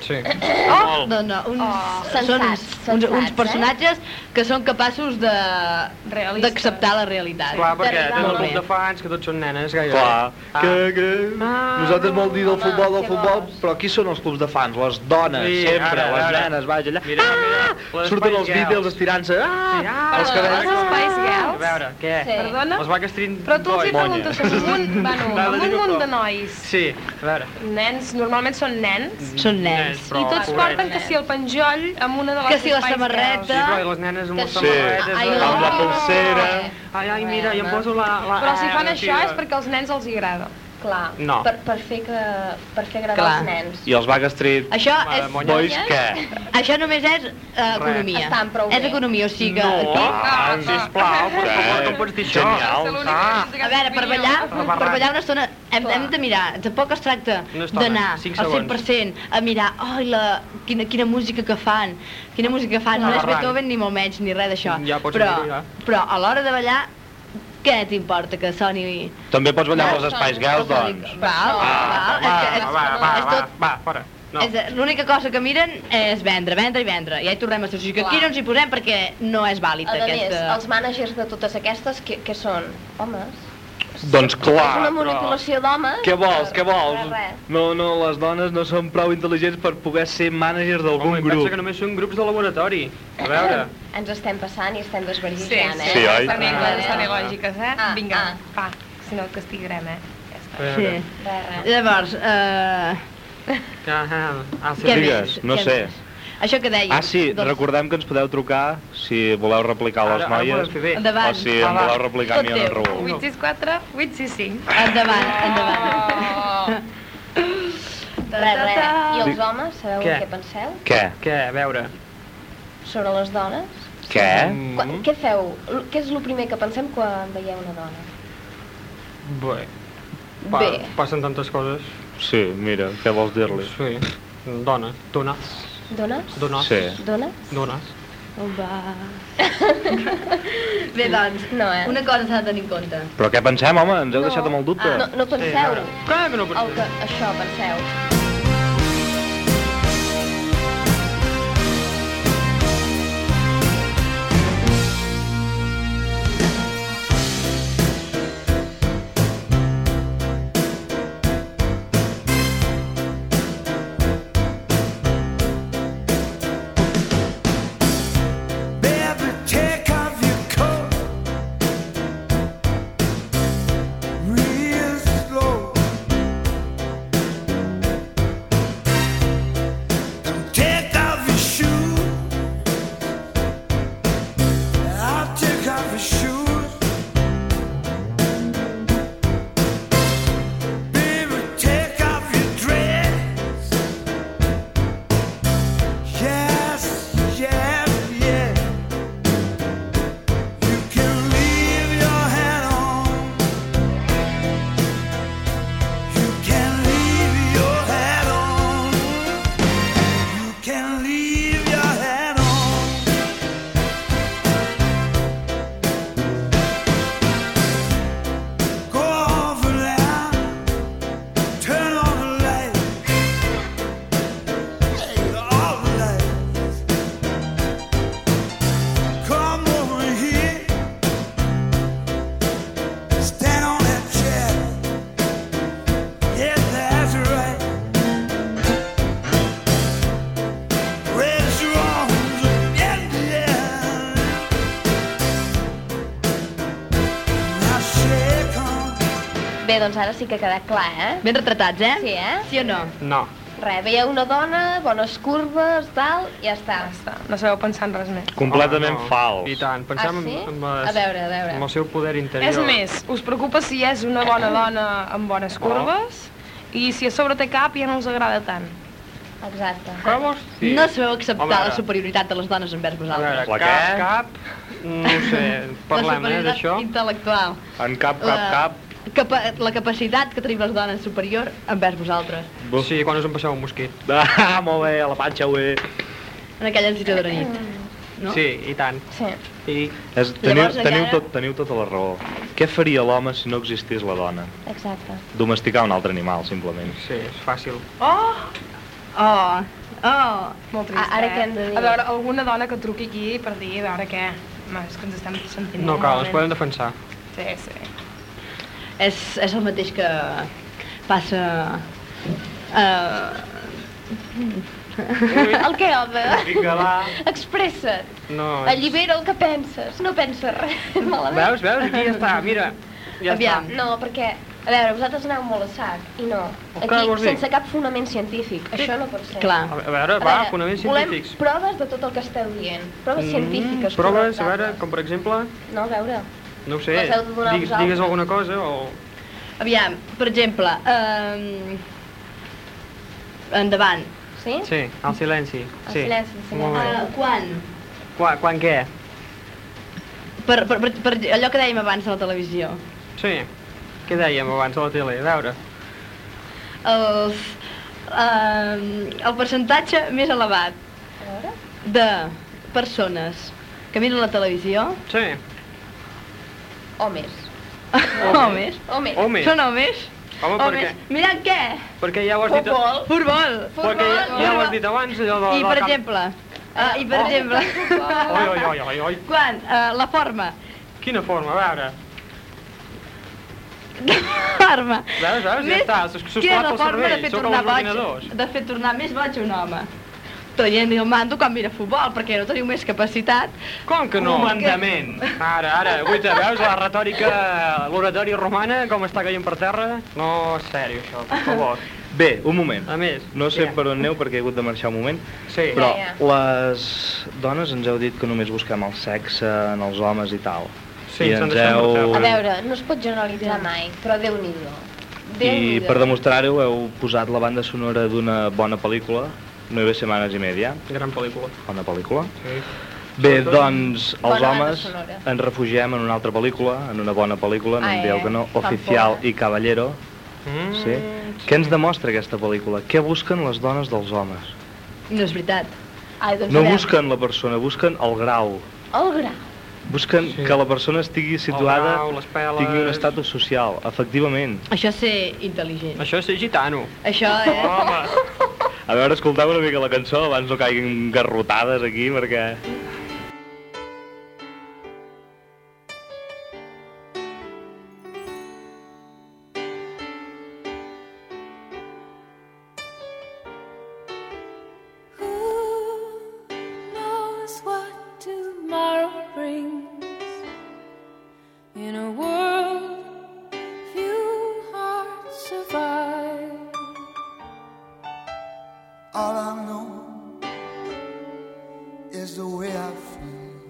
Speaker 2: Sí.
Speaker 5: Oh!
Speaker 3: No, no, uns,
Speaker 5: Oh,
Speaker 3: són
Speaker 5: sensats,
Speaker 3: uns, uns, uns
Speaker 5: sensats,
Speaker 3: personatges que són capaços de-
Speaker 5: Realistes.
Speaker 3: d'acceptar la realitat.
Speaker 2: Clar, perquè
Speaker 5: Terrible.
Speaker 2: tens un grup de fans que tots són nenes, gairebé.
Speaker 1: Clar,
Speaker 2: Ah.
Speaker 1: que, que...
Speaker 2: Ah,
Speaker 1: Nosaltres vol dir del
Speaker 5: home,
Speaker 1: futbol, del
Speaker 5: què
Speaker 1: futbol,
Speaker 5: vols?
Speaker 1: però qui són els clubs de fans? Les dones,
Speaker 2: Sí,
Speaker 1: sempre,
Speaker 2: ara,
Speaker 1: les
Speaker 2: ara.
Speaker 1: nenes, vaja, allà.
Speaker 2: Mira, mira, les
Speaker 1: Surten els
Speaker 2: Spice Girls.
Speaker 1: vídeos estirant-se, ah,
Speaker 2: Sí,
Speaker 1: ah,
Speaker 2: ah,
Speaker 1: els cabells.
Speaker 5: Els Spice
Speaker 2: A
Speaker 5: Girls?
Speaker 2: veure, què?
Speaker 5: Sí. Perdona?
Speaker 2: Els Backstreet Boys.
Speaker 5: Però tu els hi preguntes amb un, bueno,
Speaker 2: Va,
Speaker 5: amb un
Speaker 2: digue-ho,
Speaker 5: munt de
Speaker 2: però.
Speaker 5: nois.
Speaker 2: Sí, a veure.
Speaker 5: Nens, normalment són nens.
Speaker 3: Són
Speaker 2: Nens,
Speaker 3: nens.
Speaker 2: però,
Speaker 5: I tots
Speaker 2: pobrets.
Speaker 5: porten que si el penjoll amb una de les
Speaker 3: Que si la
Speaker 5: Spice Girls.
Speaker 3: samarreta.
Speaker 2: Sí, però i les nenes amb les
Speaker 4: sí.
Speaker 2: samarretes...
Speaker 3: Ai,
Speaker 2: eh?
Speaker 3: no.
Speaker 4: Amb la pulsera...
Speaker 2: Ai, ai, mira, i em poso la... la
Speaker 5: Però si fan
Speaker 2: la
Speaker 5: això és
Speaker 2: tira.
Speaker 5: perquè als nens els hi agrada.
Speaker 7: Clar,
Speaker 2: No.
Speaker 7: per, per fer que... per fer agradar
Speaker 3: Clar.
Speaker 7: els nens.
Speaker 4: I els Backstreet
Speaker 3: Això,
Speaker 2: Va,
Speaker 3: és,
Speaker 2: monya.
Speaker 4: Boys què?
Speaker 3: això només és eh, economia.
Speaker 7: Estan prou
Speaker 3: És
Speaker 7: bé.
Speaker 3: economia, o sigui que...
Speaker 2: No,
Speaker 3: Aquí,
Speaker 2: ah, sisplau, per favor, no pots dir això.
Speaker 4: Genial.
Speaker 2: Ah,
Speaker 3: a veure, per ballar,
Speaker 2: barra.
Speaker 3: per ballar una estona hem, hem de mirar. Tampoc es tracta
Speaker 2: Una estona,
Speaker 3: d'anar
Speaker 2: cinc
Speaker 3: al
Speaker 2: segons.
Speaker 3: 100% a mirar oh, la, quina, quina música que fan, quina música que fan. No és
Speaker 2: Barranc.
Speaker 3: Beethoven ni molt menys ni res d'això.
Speaker 2: Ja pots
Speaker 3: però,
Speaker 2: dir-ho, ja.
Speaker 3: però a l'hora de ballar, què t'importa que soni...
Speaker 1: També pots ballar amb els Spice Girls, doncs.
Speaker 3: Val,
Speaker 2: Ah, Va,
Speaker 3: val.
Speaker 2: va,
Speaker 3: és que és-
Speaker 2: va, va,
Speaker 3: és
Speaker 2: va,
Speaker 3: tot
Speaker 2: va, fora. No.
Speaker 3: És, eh, L'única cosa que miren és vendre, vendre i vendre. Ja hi tornem a ser. O sigui que aquí
Speaker 7: Clar.
Speaker 3: no ens hi posem perquè no és vàlid eh.
Speaker 7: A més,
Speaker 3: aquesta...
Speaker 7: els mànagers de totes aquestes, que, que són? Homes.
Speaker 1: Doncs clar,
Speaker 7: és una
Speaker 1: però...
Speaker 7: manipulació d'homes.
Speaker 3: Ah,
Speaker 1: Què vols,
Speaker 7: per-
Speaker 1: què
Speaker 7: per res.
Speaker 1: vols? No, no, les dones no són prou intel·ligents per poder ser mànager d'algun
Speaker 2: Home, i pensa
Speaker 1: grup.
Speaker 2: que només són grups de laboratori. A veure.
Speaker 3: Ah,
Speaker 7: Ens estem passant i estem
Speaker 5: Sí,
Speaker 7: desvergitant,
Speaker 5: sí,
Speaker 7: eh?
Speaker 4: Sí, oi?
Speaker 5: estan bé,
Speaker 7: Ah,
Speaker 5: estan bé
Speaker 7: ah.
Speaker 5: lògiques, eh?
Speaker 7: Ah,
Speaker 5: Vinga,
Speaker 7: ah.
Speaker 5: va, si no castiguem, eh? Ja està.
Speaker 2: A veure.
Speaker 3: Sí.
Speaker 7: Res, res.
Speaker 3: Llavors, eh,
Speaker 2: Ah, ah, sí.
Speaker 3: què
Speaker 1: Digues,
Speaker 3: més?
Speaker 1: no
Speaker 3: Què
Speaker 1: sé.
Speaker 3: més? Això que deies.
Speaker 1: Ah, sí, recordem que ens podeu trucar si voleu replicar a les
Speaker 2: Ara- ara
Speaker 1: noies
Speaker 2: podem fer bé.
Speaker 1: o
Speaker 3: Endavant.
Speaker 1: si
Speaker 2: Va,
Speaker 1: em
Speaker 2: va.
Speaker 1: voleu replicar a mi
Speaker 3: Tot
Speaker 1: en el
Speaker 3: teu.
Speaker 1: Raül.
Speaker 5: 864, 865.
Speaker 3: Endavant, endavant.
Speaker 5: Oh.
Speaker 7: Res, res. I
Speaker 1: Dic-
Speaker 7: els homes, sabeu
Speaker 2: Què?
Speaker 7: què? què penseu?
Speaker 1: Què?
Speaker 2: Què, a veure. Mm,
Speaker 7: Sobre les dones?
Speaker 1: Què?
Speaker 7: Qua-
Speaker 1: Mm.
Speaker 7: Què feu? L- Què és el primer que pensem quan veieu una dona?
Speaker 2: Bé. Pa,
Speaker 7: Bé.
Speaker 2: Passen tantes coses.
Speaker 1: Sí, mira, què vols dir-li?
Speaker 2: Sí. Dona. Dones.
Speaker 7: Dones?
Speaker 2: Dones.
Speaker 1: Sí.
Speaker 7: Dones?
Speaker 2: Dones.
Speaker 3: Oh, va. Bé, doncs,
Speaker 7: No, eh?
Speaker 3: una cosa s'ha de tenir en compte.
Speaker 1: Però què pensem, home? Ens heu deixat amb el dubte.
Speaker 7: Ah,
Speaker 3: Ah,
Speaker 7: No, no penseu
Speaker 2: ara. Clar que no
Speaker 7: el
Speaker 2: pots
Speaker 7: que... Això, penseu.
Speaker 6: Never take off your coat. Real slow. And take off your shoes. I'll take off your shoes. Baby, take off your dress. Yes, yes, yes. You can leave your hat on. You can leave your hat on. You can leave your hat on. Go over there. Turn on the light. All the lights. Come over here. Stand on that chair. Yes, that's right. Raise your arms up in the air. Now shake 'em.
Speaker 7: Bé, doncs ara sí que ha quedat clar, eh?
Speaker 3: Ben retratats, eh?
Speaker 7: Sí, eh?
Speaker 3: Sí o no?
Speaker 2: No.
Speaker 7: Res, veieu una dona, bones curves, tal, ja està.
Speaker 5: Ja està, no sabeu pensar en res més.
Speaker 1: Completament
Speaker 2: Home, Oh, no.
Speaker 1: fals.
Speaker 2: I tant. Pensem
Speaker 7: Ah, sí?
Speaker 2: en,
Speaker 7: A veure, a veure.
Speaker 2: amb el Ah. seu poder interior.
Speaker 5: És més, us preocupa si és una
Speaker 7: Ah.
Speaker 5: bona dona amb bones curves i si a sobre té cap ja no us agrada tant.
Speaker 7: Exacte.
Speaker 2: Vamos?
Speaker 3: No sabeu acceptar
Speaker 2: Home, ara.
Speaker 3: la superioritat de les dones envers
Speaker 2: A veure,
Speaker 3: vosaltres.
Speaker 1: La
Speaker 2: cap,
Speaker 1: què?
Speaker 2: cap, no ho sé,
Speaker 3: la
Speaker 2: parlem, eh,
Speaker 3: superioritat
Speaker 2: d'això.
Speaker 3: intel·lectual.
Speaker 1: En cap, cap,
Speaker 7: Eh.
Speaker 3: La-
Speaker 1: cap.
Speaker 3: Capa la capacitat que tenim les dones superior envers vosaltres.
Speaker 1: Buf.
Speaker 2: Sí, quan us en passeu un mosquit.
Speaker 1: Ah, molt bé, a la panxa, ué.
Speaker 3: En aquella encita de nit. No?
Speaker 2: Sí, i tant.
Speaker 7: Sí.
Speaker 2: I
Speaker 1: És, teniu,
Speaker 3: Llavors,
Speaker 1: teniu,
Speaker 3: encara-
Speaker 1: tot, teniu tota la raó. Què faria l'home si no existís la dona?
Speaker 7: Exacte.
Speaker 2: Oh!
Speaker 1: Domesticar un altre animal, simplement.
Speaker 2: sí, és fàcil.
Speaker 3: Oh, Oh,
Speaker 5: Molt trist,
Speaker 7: A- ara
Speaker 5: eh?
Speaker 7: què hem de dir?
Speaker 5: A veure, alguna dona que truqui aquí per dir, a veure què. Home, és que ens estem sentint
Speaker 2: No
Speaker 5: molt
Speaker 2: cal, ens podem
Speaker 5: malament.
Speaker 2: defensar.
Speaker 5: Sí, sí.
Speaker 3: és, és el mateix que passa... Eh,
Speaker 7: El que, home?
Speaker 2: Vinga, va.
Speaker 7: Expressa't.
Speaker 2: No, és...
Speaker 7: Allibera el que penses. No penses res. Malament.
Speaker 2: Veus, veus, aquí ja està, mira. Ja
Speaker 7: Aviam,
Speaker 2: està.
Speaker 7: no, perquè, a veure, vosaltres aneu molt a sac, i no.
Speaker 2: Però
Speaker 7: Aquí,
Speaker 2: clar, vols dir?
Speaker 7: sense cap fonament científic. Això no pot ser.
Speaker 3: clar,
Speaker 2: A veure, va,
Speaker 7: A veure,
Speaker 2: fonaments
Speaker 7: volem
Speaker 2: científics.
Speaker 7: proves de tot el que esteu dient. Proves científiques.
Speaker 2: Mm, proves, a veure,
Speaker 7: corroborades.
Speaker 2: com per exemple,
Speaker 7: No, a veure.
Speaker 2: no ho sé,
Speaker 7: Les heu de donar
Speaker 2: digues,
Speaker 7: vosaltres.
Speaker 2: digues alguna cosa o...
Speaker 3: aviam, per exemple, eh, endavant.
Speaker 7: Sí?
Speaker 2: Sí, al silenci.
Speaker 7: El
Speaker 2: Sí.
Speaker 7: silenci, el silenci. Ah.
Speaker 2: Molt bé.
Speaker 3: Eh, quan?
Speaker 2: Quan, quan què?
Speaker 3: Per, per, per, per allò que dèiem abans a la televisió.
Speaker 2: Sí. Què dèiem abans a la tele? A veure.
Speaker 3: Els, eh, el percentatge més elevat
Speaker 7: A veure.
Speaker 3: de persones que miren la televisió,
Speaker 2: Sí.
Speaker 7: O més.
Speaker 3: homes,
Speaker 7: O més.
Speaker 2: Home.
Speaker 3: són homes,
Speaker 2: Home, per què?
Speaker 3: homes, mirant què?
Speaker 2: Perquè ja ho has dit...
Speaker 3: Futbol.
Speaker 2: Perquè ja, ja ho
Speaker 3: Futbol.
Speaker 2: has dit abans, allò de...
Speaker 3: I
Speaker 2: del
Speaker 3: per
Speaker 2: camp.
Speaker 3: exemple, eh, i per
Speaker 2: Oh.
Speaker 3: exemple,
Speaker 2: Oi, oi, oi, oi, oi.
Speaker 3: quan eh, la forma,
Speaker 2: Quina forma, a veure.
Speaker 3: forma,
Speaker 2: Veus, veus, ja
Speaker 3: Més-
Speaker 2: està. S'ha
Speaker 3: que és
Speaker 2: esclat
Speaker 3: la
Speaker 2: el
Speaker 3: forma de
Speaker 2: cervell.
Speaker 3: fer
Speaker 2: Sóc
Speaker 3: tornar
Speaker 2: els
Speaker 3: boig,
Speaker 2: ordinadors.
Speaker 3: de fer tornar més boig un home. Tot i el mando quan mira futbol, perquè no teniu més capacitat.
Speaker 2: Com que no?
Speaker 3: Comandament.
Speaker 2: Ara, ara, guaita, veus la retòrica, l'oratòria romana, com està caient per terra? No, és sèrio, això, per favor.
Speaker 1: Bé, un moment.
Speaker 2: A més,
Speaker 1: No sé
Speaker 2: ja.
Speaker 1: per on aneu perquè he hagut de marxar un moment,
Speaker 2: Sí.
Speaker 1: però
Speaker 7: Ja,
Speaker 1: les dones ens heu dit que només busquem el sexe en els homes i tal.
Speaker 2: Sí,
Speaker 1: I
Speaker 2: ens en
Speaker 1: ens
Speaker 2: deixem
Speaker 1: heu-
Speaker 2: portar.
Speaker 7: A veure, no es pot generalitzar mai, però Déu-n'hi-do.
Speaker 1: I per
Speaker 7: damunt...
Speaker 1: demostrar-ho heu posat la banda sonora d'una bona pel·lícula, 9 setmanes i media,
Speaker 2: Gran pel·lícula.
Speaker 1: bona pel·lícula.
Speaker 2: Sí.
Speaker 1: Bé,
Speaker 2: Sobretot-
Speaker 1: doncs, els
Speaker 7: Bona banda
Speaker 1: homes
Speaker 7: sonora.
Speaker 1: ens refugiem en una altra pel·lícula, en una bona pel·lícula, no
Speaker 7: Ah,
Speaker 1: em dieu
Speaker 7: eh,
Speaker 1: que no,
Speaker 7: fan
Speaker 1: Oficial
Speaker 7: por.
Speaker 1: i Caballero,
Speaker 2: Mm,
Speaker 1: sí? Què ens demostra aquesta pel·lícula? Què busquen les dones dels homes?
Speaker 3: No és veritat.
Speaker 7: Ai, doncs
Speaker 1: No
Speaker 7: a veure.
Speaker 1: busquen la persona, busquen el grau.
Speaker 7: El gra.
Speaker 1: Busquen
Speaker 2: Sí.
Speaker 1: que la persona estigui situada,
Speaker 2: grau, les peles.
Speaker 1: tingui un estatus social, efectivament.
Speaker 3: Això és ser intel·ligent.
Speaker 2: Això és ser gitano.
Speaker 3: Això eh? és...
Speaker 2: Home,
Speaker 1: A veure, escolteu una mica la cançó abans no caiguin garrotades aquí, perquè...
Speaker 8: Who knows what tomorrow brings? In a world few hearts survive.
Speaker 6: All I know is the way I feel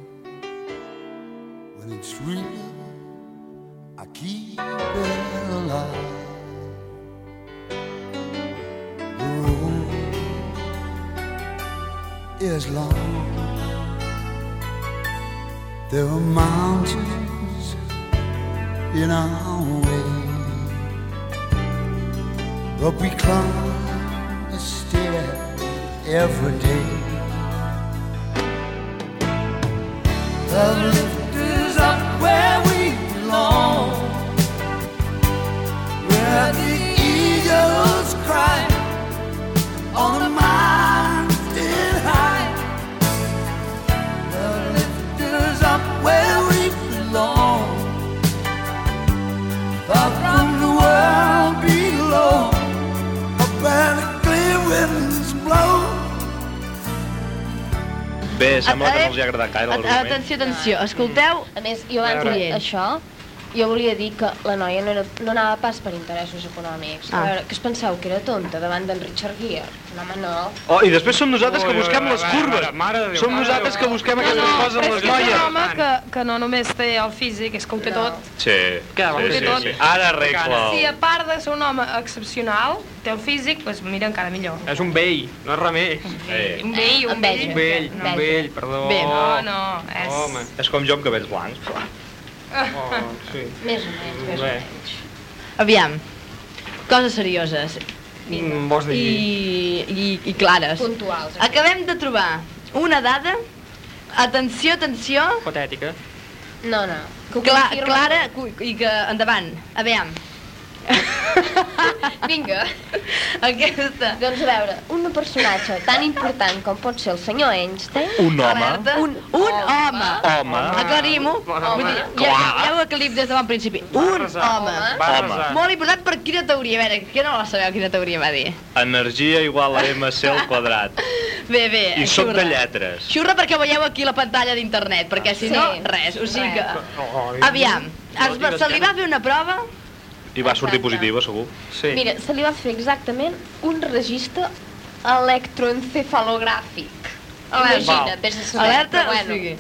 Speaker 6: when it's real. I keep it alive. The road is long. There are mountains in our way, but we climb a stare every day. The lift is up where we belong, where the eagles cry on the mountain high. The lift is up where we belong, far from the world below up where the clear winds blow.
Speaker 1: Bé, sembla que
Speaker 3: eh,
Speaker 1: no els hi ha agradat gaire
Speaker 3: At-
Speaker 1: l'argument.
Speaker 3: Atenció, atenció, escolteu...
Speaker 7: A més, jo abans
Speaker 2: A
Speaker 7: de
Speaker 3: veure.
Speaker 7: això, jo volia dir que la noia no, era, no anava pas per interessos econòmics.
Speaker 3: Ah.
Speaker 7: A veure, que us penseu que era tonta davant d'en Richard Gere? No, home, no.
Speaker 1: Oh, i després som nosaltres que
Speaker 2: Ui, ui,
Speaker 1: busquem
Speaker 2: ui,
Speaker 1: les
Speaker 2: mare,
Speaker 1: curves.
Speaker 2: mare de Déu,
Speaker 1: Som
Speaker 2: mare de
Speaker 1: nosaltres
Speaker 2: Déu.
Speaker 1: que busquem
Speaker 5: No,
Speaker 1: aquestes
Speaker 5: no,
Speaker 1: coses en
Speaker 5: però és
Speaker 1: les
Speaker 5: que és un
Speaker 1: noies.
Speaker 5: home que, que no només té el físic, és que ho té
Speaker 7: No.
Speaker 5: tot.
Speaker 1: Sí,
Speaker 2: Què, vol
Speaker 5: fer tot? Si
Speaker 1: Ara arregla
Speaker 5: a part de ser un home excepcional, té el físic, doncs mira, encara millor.
Speaker 2: És un vell, no és res més.
Speaker 5: Un
Speaker 7: Ah,
Speaker 5: vell, un vell.
Speaker 7: Enveja.
Speaker 2: Un vell,
Speaker 7: Veja.
Speaker 2: un vell, perdó.
Speaker 3: Bé,
Speaker 5: No, no, és...
Speaker 2: Home,
Speaker 1: És com jo amb cabells blancs.
Speaker 2: oh,
Speaker 1: Ah.
Speaker 2: sí.
Speaker 7: Més o menys, més
Speaker 2: Bé.
Speaker 7: o menys.
Speaker 3: Aviam, coses serioses
Speaker 2: Mm, vols dir...
Speaker 3: i, i, i clares.
Speaker 7: Puntuals. eh? això.
Speaker 3: Acabem de trobar una dada, atenció, atenció,
Speaker 2: Patètica.
Speaker 7: No, no. Que ho
Speaker 3: cla
Speaker 7: confirma.
Speaker 3: clara cu- i que endavant, aviam. Vinga, aquesta.
Speaker 7: Doncs a veure, un personatge tan important com pot ser el senyor Einstein...
Speaker 1: Un home.
Speaker 3: Un, un home.
Speaker 1: Home.
Speaker 3: Aclarim-ho. Vull dir, ja, ja ho aclarim des de bon principi. Un home.
Speaker 1: Home.
Speaker 3: Molt important per quina teoria, a veure, que no la sabeu quina teoria va dir.
Speaker 1: Energia igual a MC al quadrat.
Speaker 3: Bé,
Speaker 2: Eh,
Speaker 3: bé,
Speaker 1: I sóc
Speaker 3: xurra.
Speaker 1: de lletres.
Speaker 3: Xurra perquè ho veieu aquí a la pantalla d'internet, perquè si
Speaker 7: Sí.
Speaker 3: no, res, o sigui que...
Speaker 2: Ai.
Speaker 3: Aviam, es va, se li va fer una prova,
Speaker 1: I va sortir positiva, segur.
Speaker 2: Sí.
Speaker 7: Mira, se li va fer exactament un registre electroencefalogràfic. Imagina't, eh? vés a saber.
Speaker 3: alerta,
Speaker 7: però
Speaker 3: o
Speaker 7: bueno.
Speaker 3: sigui,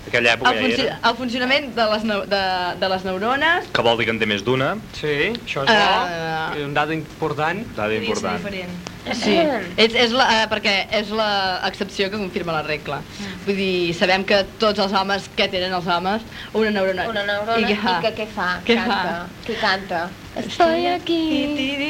Speaker 1: Aquella època
Speaker 3: el,
Speaker 1: ja
Speaker 3: funci
Speaker 1: era.
Speaker 3: el funcionament de les, neu- de, de les neurones,
Speaker 1: Que vol dir que en té més d'una.
Speaker 2: Sí, això és
Speaker 3: Ah.
Speaker 2: bo. és Un dado important.
Speaker 1: Dada
Speaker 5: Podria ser
Speaker 1: important.
Speaker 5: diferent.
Speaker 3: sí, és, és la, eh, perquè és l'excepció que confirma la regla.
Speaker 7: Mm.
Speaker 3: Vull dir, sabem que tots els homes, què tenen els homes? Una neurona.
Speaker 7: Una neurona, i,
Speaker 3: fa?
Speaker 7: que què fa?
Speaker 3: Què
Speaker 7: canta.
Speaker 3: fa?
Speaker 7: Què canta? Estoy aquí.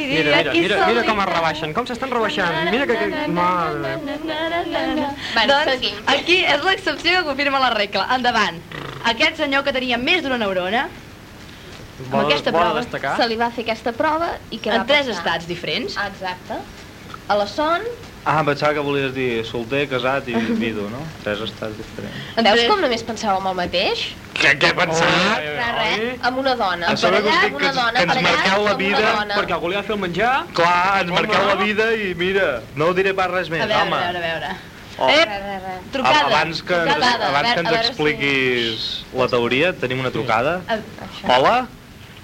Speaker 2: Mira, mira, mira, mira com es rebaixen, com s'estan rebaixant. Mira que... que... Mare.
Speaker 7: Bueno,
Speaker 3: doncs,
Speaker 7: seguim.
Speaker 3: aquí és l'excepció que confirma la regla. Endavant. Aquest senyor que tenia més d'una neurona, amb
Speaker 2: Vol-
Speaker 3: aquesta
Speaker 2: vol
Speaker 3: prova,
Speaker 2: destacar?
Speaker 7: Se li va fer aquesta prova i què va
Speaker 3: en tres
Speaker 7: passar?
Speaker 3: estats diferents,
Speaker 7: Ah, Exacte. A la son,
Speaker 1: Ah, em pensava que volies dir solter, casat i vidu, no? Tres estats diferents.
Speaker 3: En
Speaker 7: veus
Speaker 3: tres-
Speaker 7: com només pensàvem el mateix?
Speaker 9: Què, què pensar?
Speaker 2: Oi,
Speaker 3: Oh,
Speaker 7: Res,
Speaker 2: oi, oi.
Speaker 7: res, amb una dona.
Speaker 3: eh,
Speaker 1: A sobre
Speaker 7: Emparellat
Speaker 1: que-
Speaker 7: amb una
Speaker 1: que-
Speaker 7: dona,
Speaker 1: que ens
Speaker 7: emparellat
Speaker 1: marqueu la
Speaker 7: amb una
Speaker 1: vida
Speaker 7: dona.
Speaker 2: Perquè algú li va fer el menjar.
Speaker 1: Clar, ens marqueu
Speaker 2: Home.
Speaker 1: la vida i mira, no diré pas res més,
Speaker 3: A veure,
Speaker 1: home.
Speaker 3: a veure, a veure.
Speaker 1: Oh.
Speaker 7: Res, res, res.
Speaker 3: Eh, Trucada.
Speaker 1: Ab- Abans que, ens,
Speaker 3: trucada.
Speaker 1: abans
Speaker 7: Eh, a
Speaker 1: que ens
Speaker 7: veure- a veure si-
Speaker 1: expliquis la teoria, tenim una trucada.
Speaker 3: A-
Speaker 1: Hola?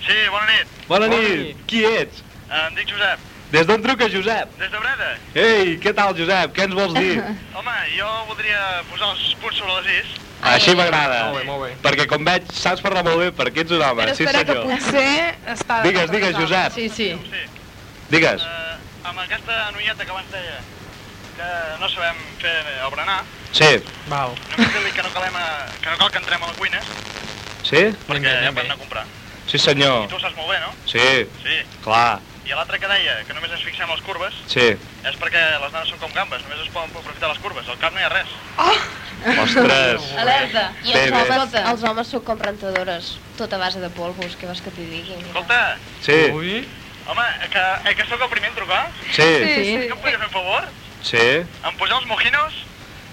Speaker 10: Sí, bona nit.
Speaker 1: Bona
Speaker 2: Bona
Speaker 1: nit.
Speaker 2: nit.
Speaker 1: Qui ets?
Speaker 10: Em dic Josep,
Speaker 1: Des d'on truques, Josep?
Speaker 10: des de Breda.
Speaker 1: Ei, què tal, Josep? Què ens vols dir?
Speaker 10: Home, jo Oh, voldria posar els punts sobre les is.
Speaker 1: Així m'agrada.
Speaker 2: Molt bé, molt bé.
Speaker 1: Perquè com veig, saps parlar molt bé, perquè ets un home.
Speaker 5: Però
Speaker 1: sí,
Speaker 5: espera que
Speaker 1: senyor.
Speaker 5: potser està...
Speaker 1: Digues, digues, Josep.
Speaker 3: Sí, sí.
Speaker 10: Sí.
Speaker 1: Digues.
Speaker 10: Eh, amb aquesta anulleta que abans deia que no sabem fer el berenar,
Speaker 1: Sí.
Speaker 2: Val.
Speaker 10: només dir-li que, no calem a, que no cal que entrem a la cuina
Speaker 1: Sí?
Speaker 10: perquè ja podem anar a comprar.
Speaker 1: Sí, senyor.
Speaker 10: Tu ho saps molt bé, no?
Speaker 1: Sí.
Speaker 10: Sí.
Speaker 1: Clar.
Speaker 10: I l'altre que deia que només ens fixem a les curves
Speaker 1: Sí.
Speaker 10: és perquè les nanes són com gambes, només es poden aprofitar les curves, al cap no hi ha res.
Speaker 1: Ostres.
Speaker 3: Alerta.
Speaker 7: I
Speaker 1: Bé,
Speaker 7: els
Speaker 1: bé.
Speaker 7: homes,
Speaker 3: Escolta.
Speaker 7: els homes són com rentadores, tot a base de polvos, què vols que t'hi digui? mira.
Speaker 10: Escolta,
Speaker 1: Sí.
Speaker 2: Ui.
Speaker 10: home, que, eh, que sóc el primer a trucar,
Speaker 1: Sí.
Speaker 5: Sí,
Speaker 10: que em podria fer un favor?
Speaker 1: Sí.
Speaker 10: Em posar els mojinos?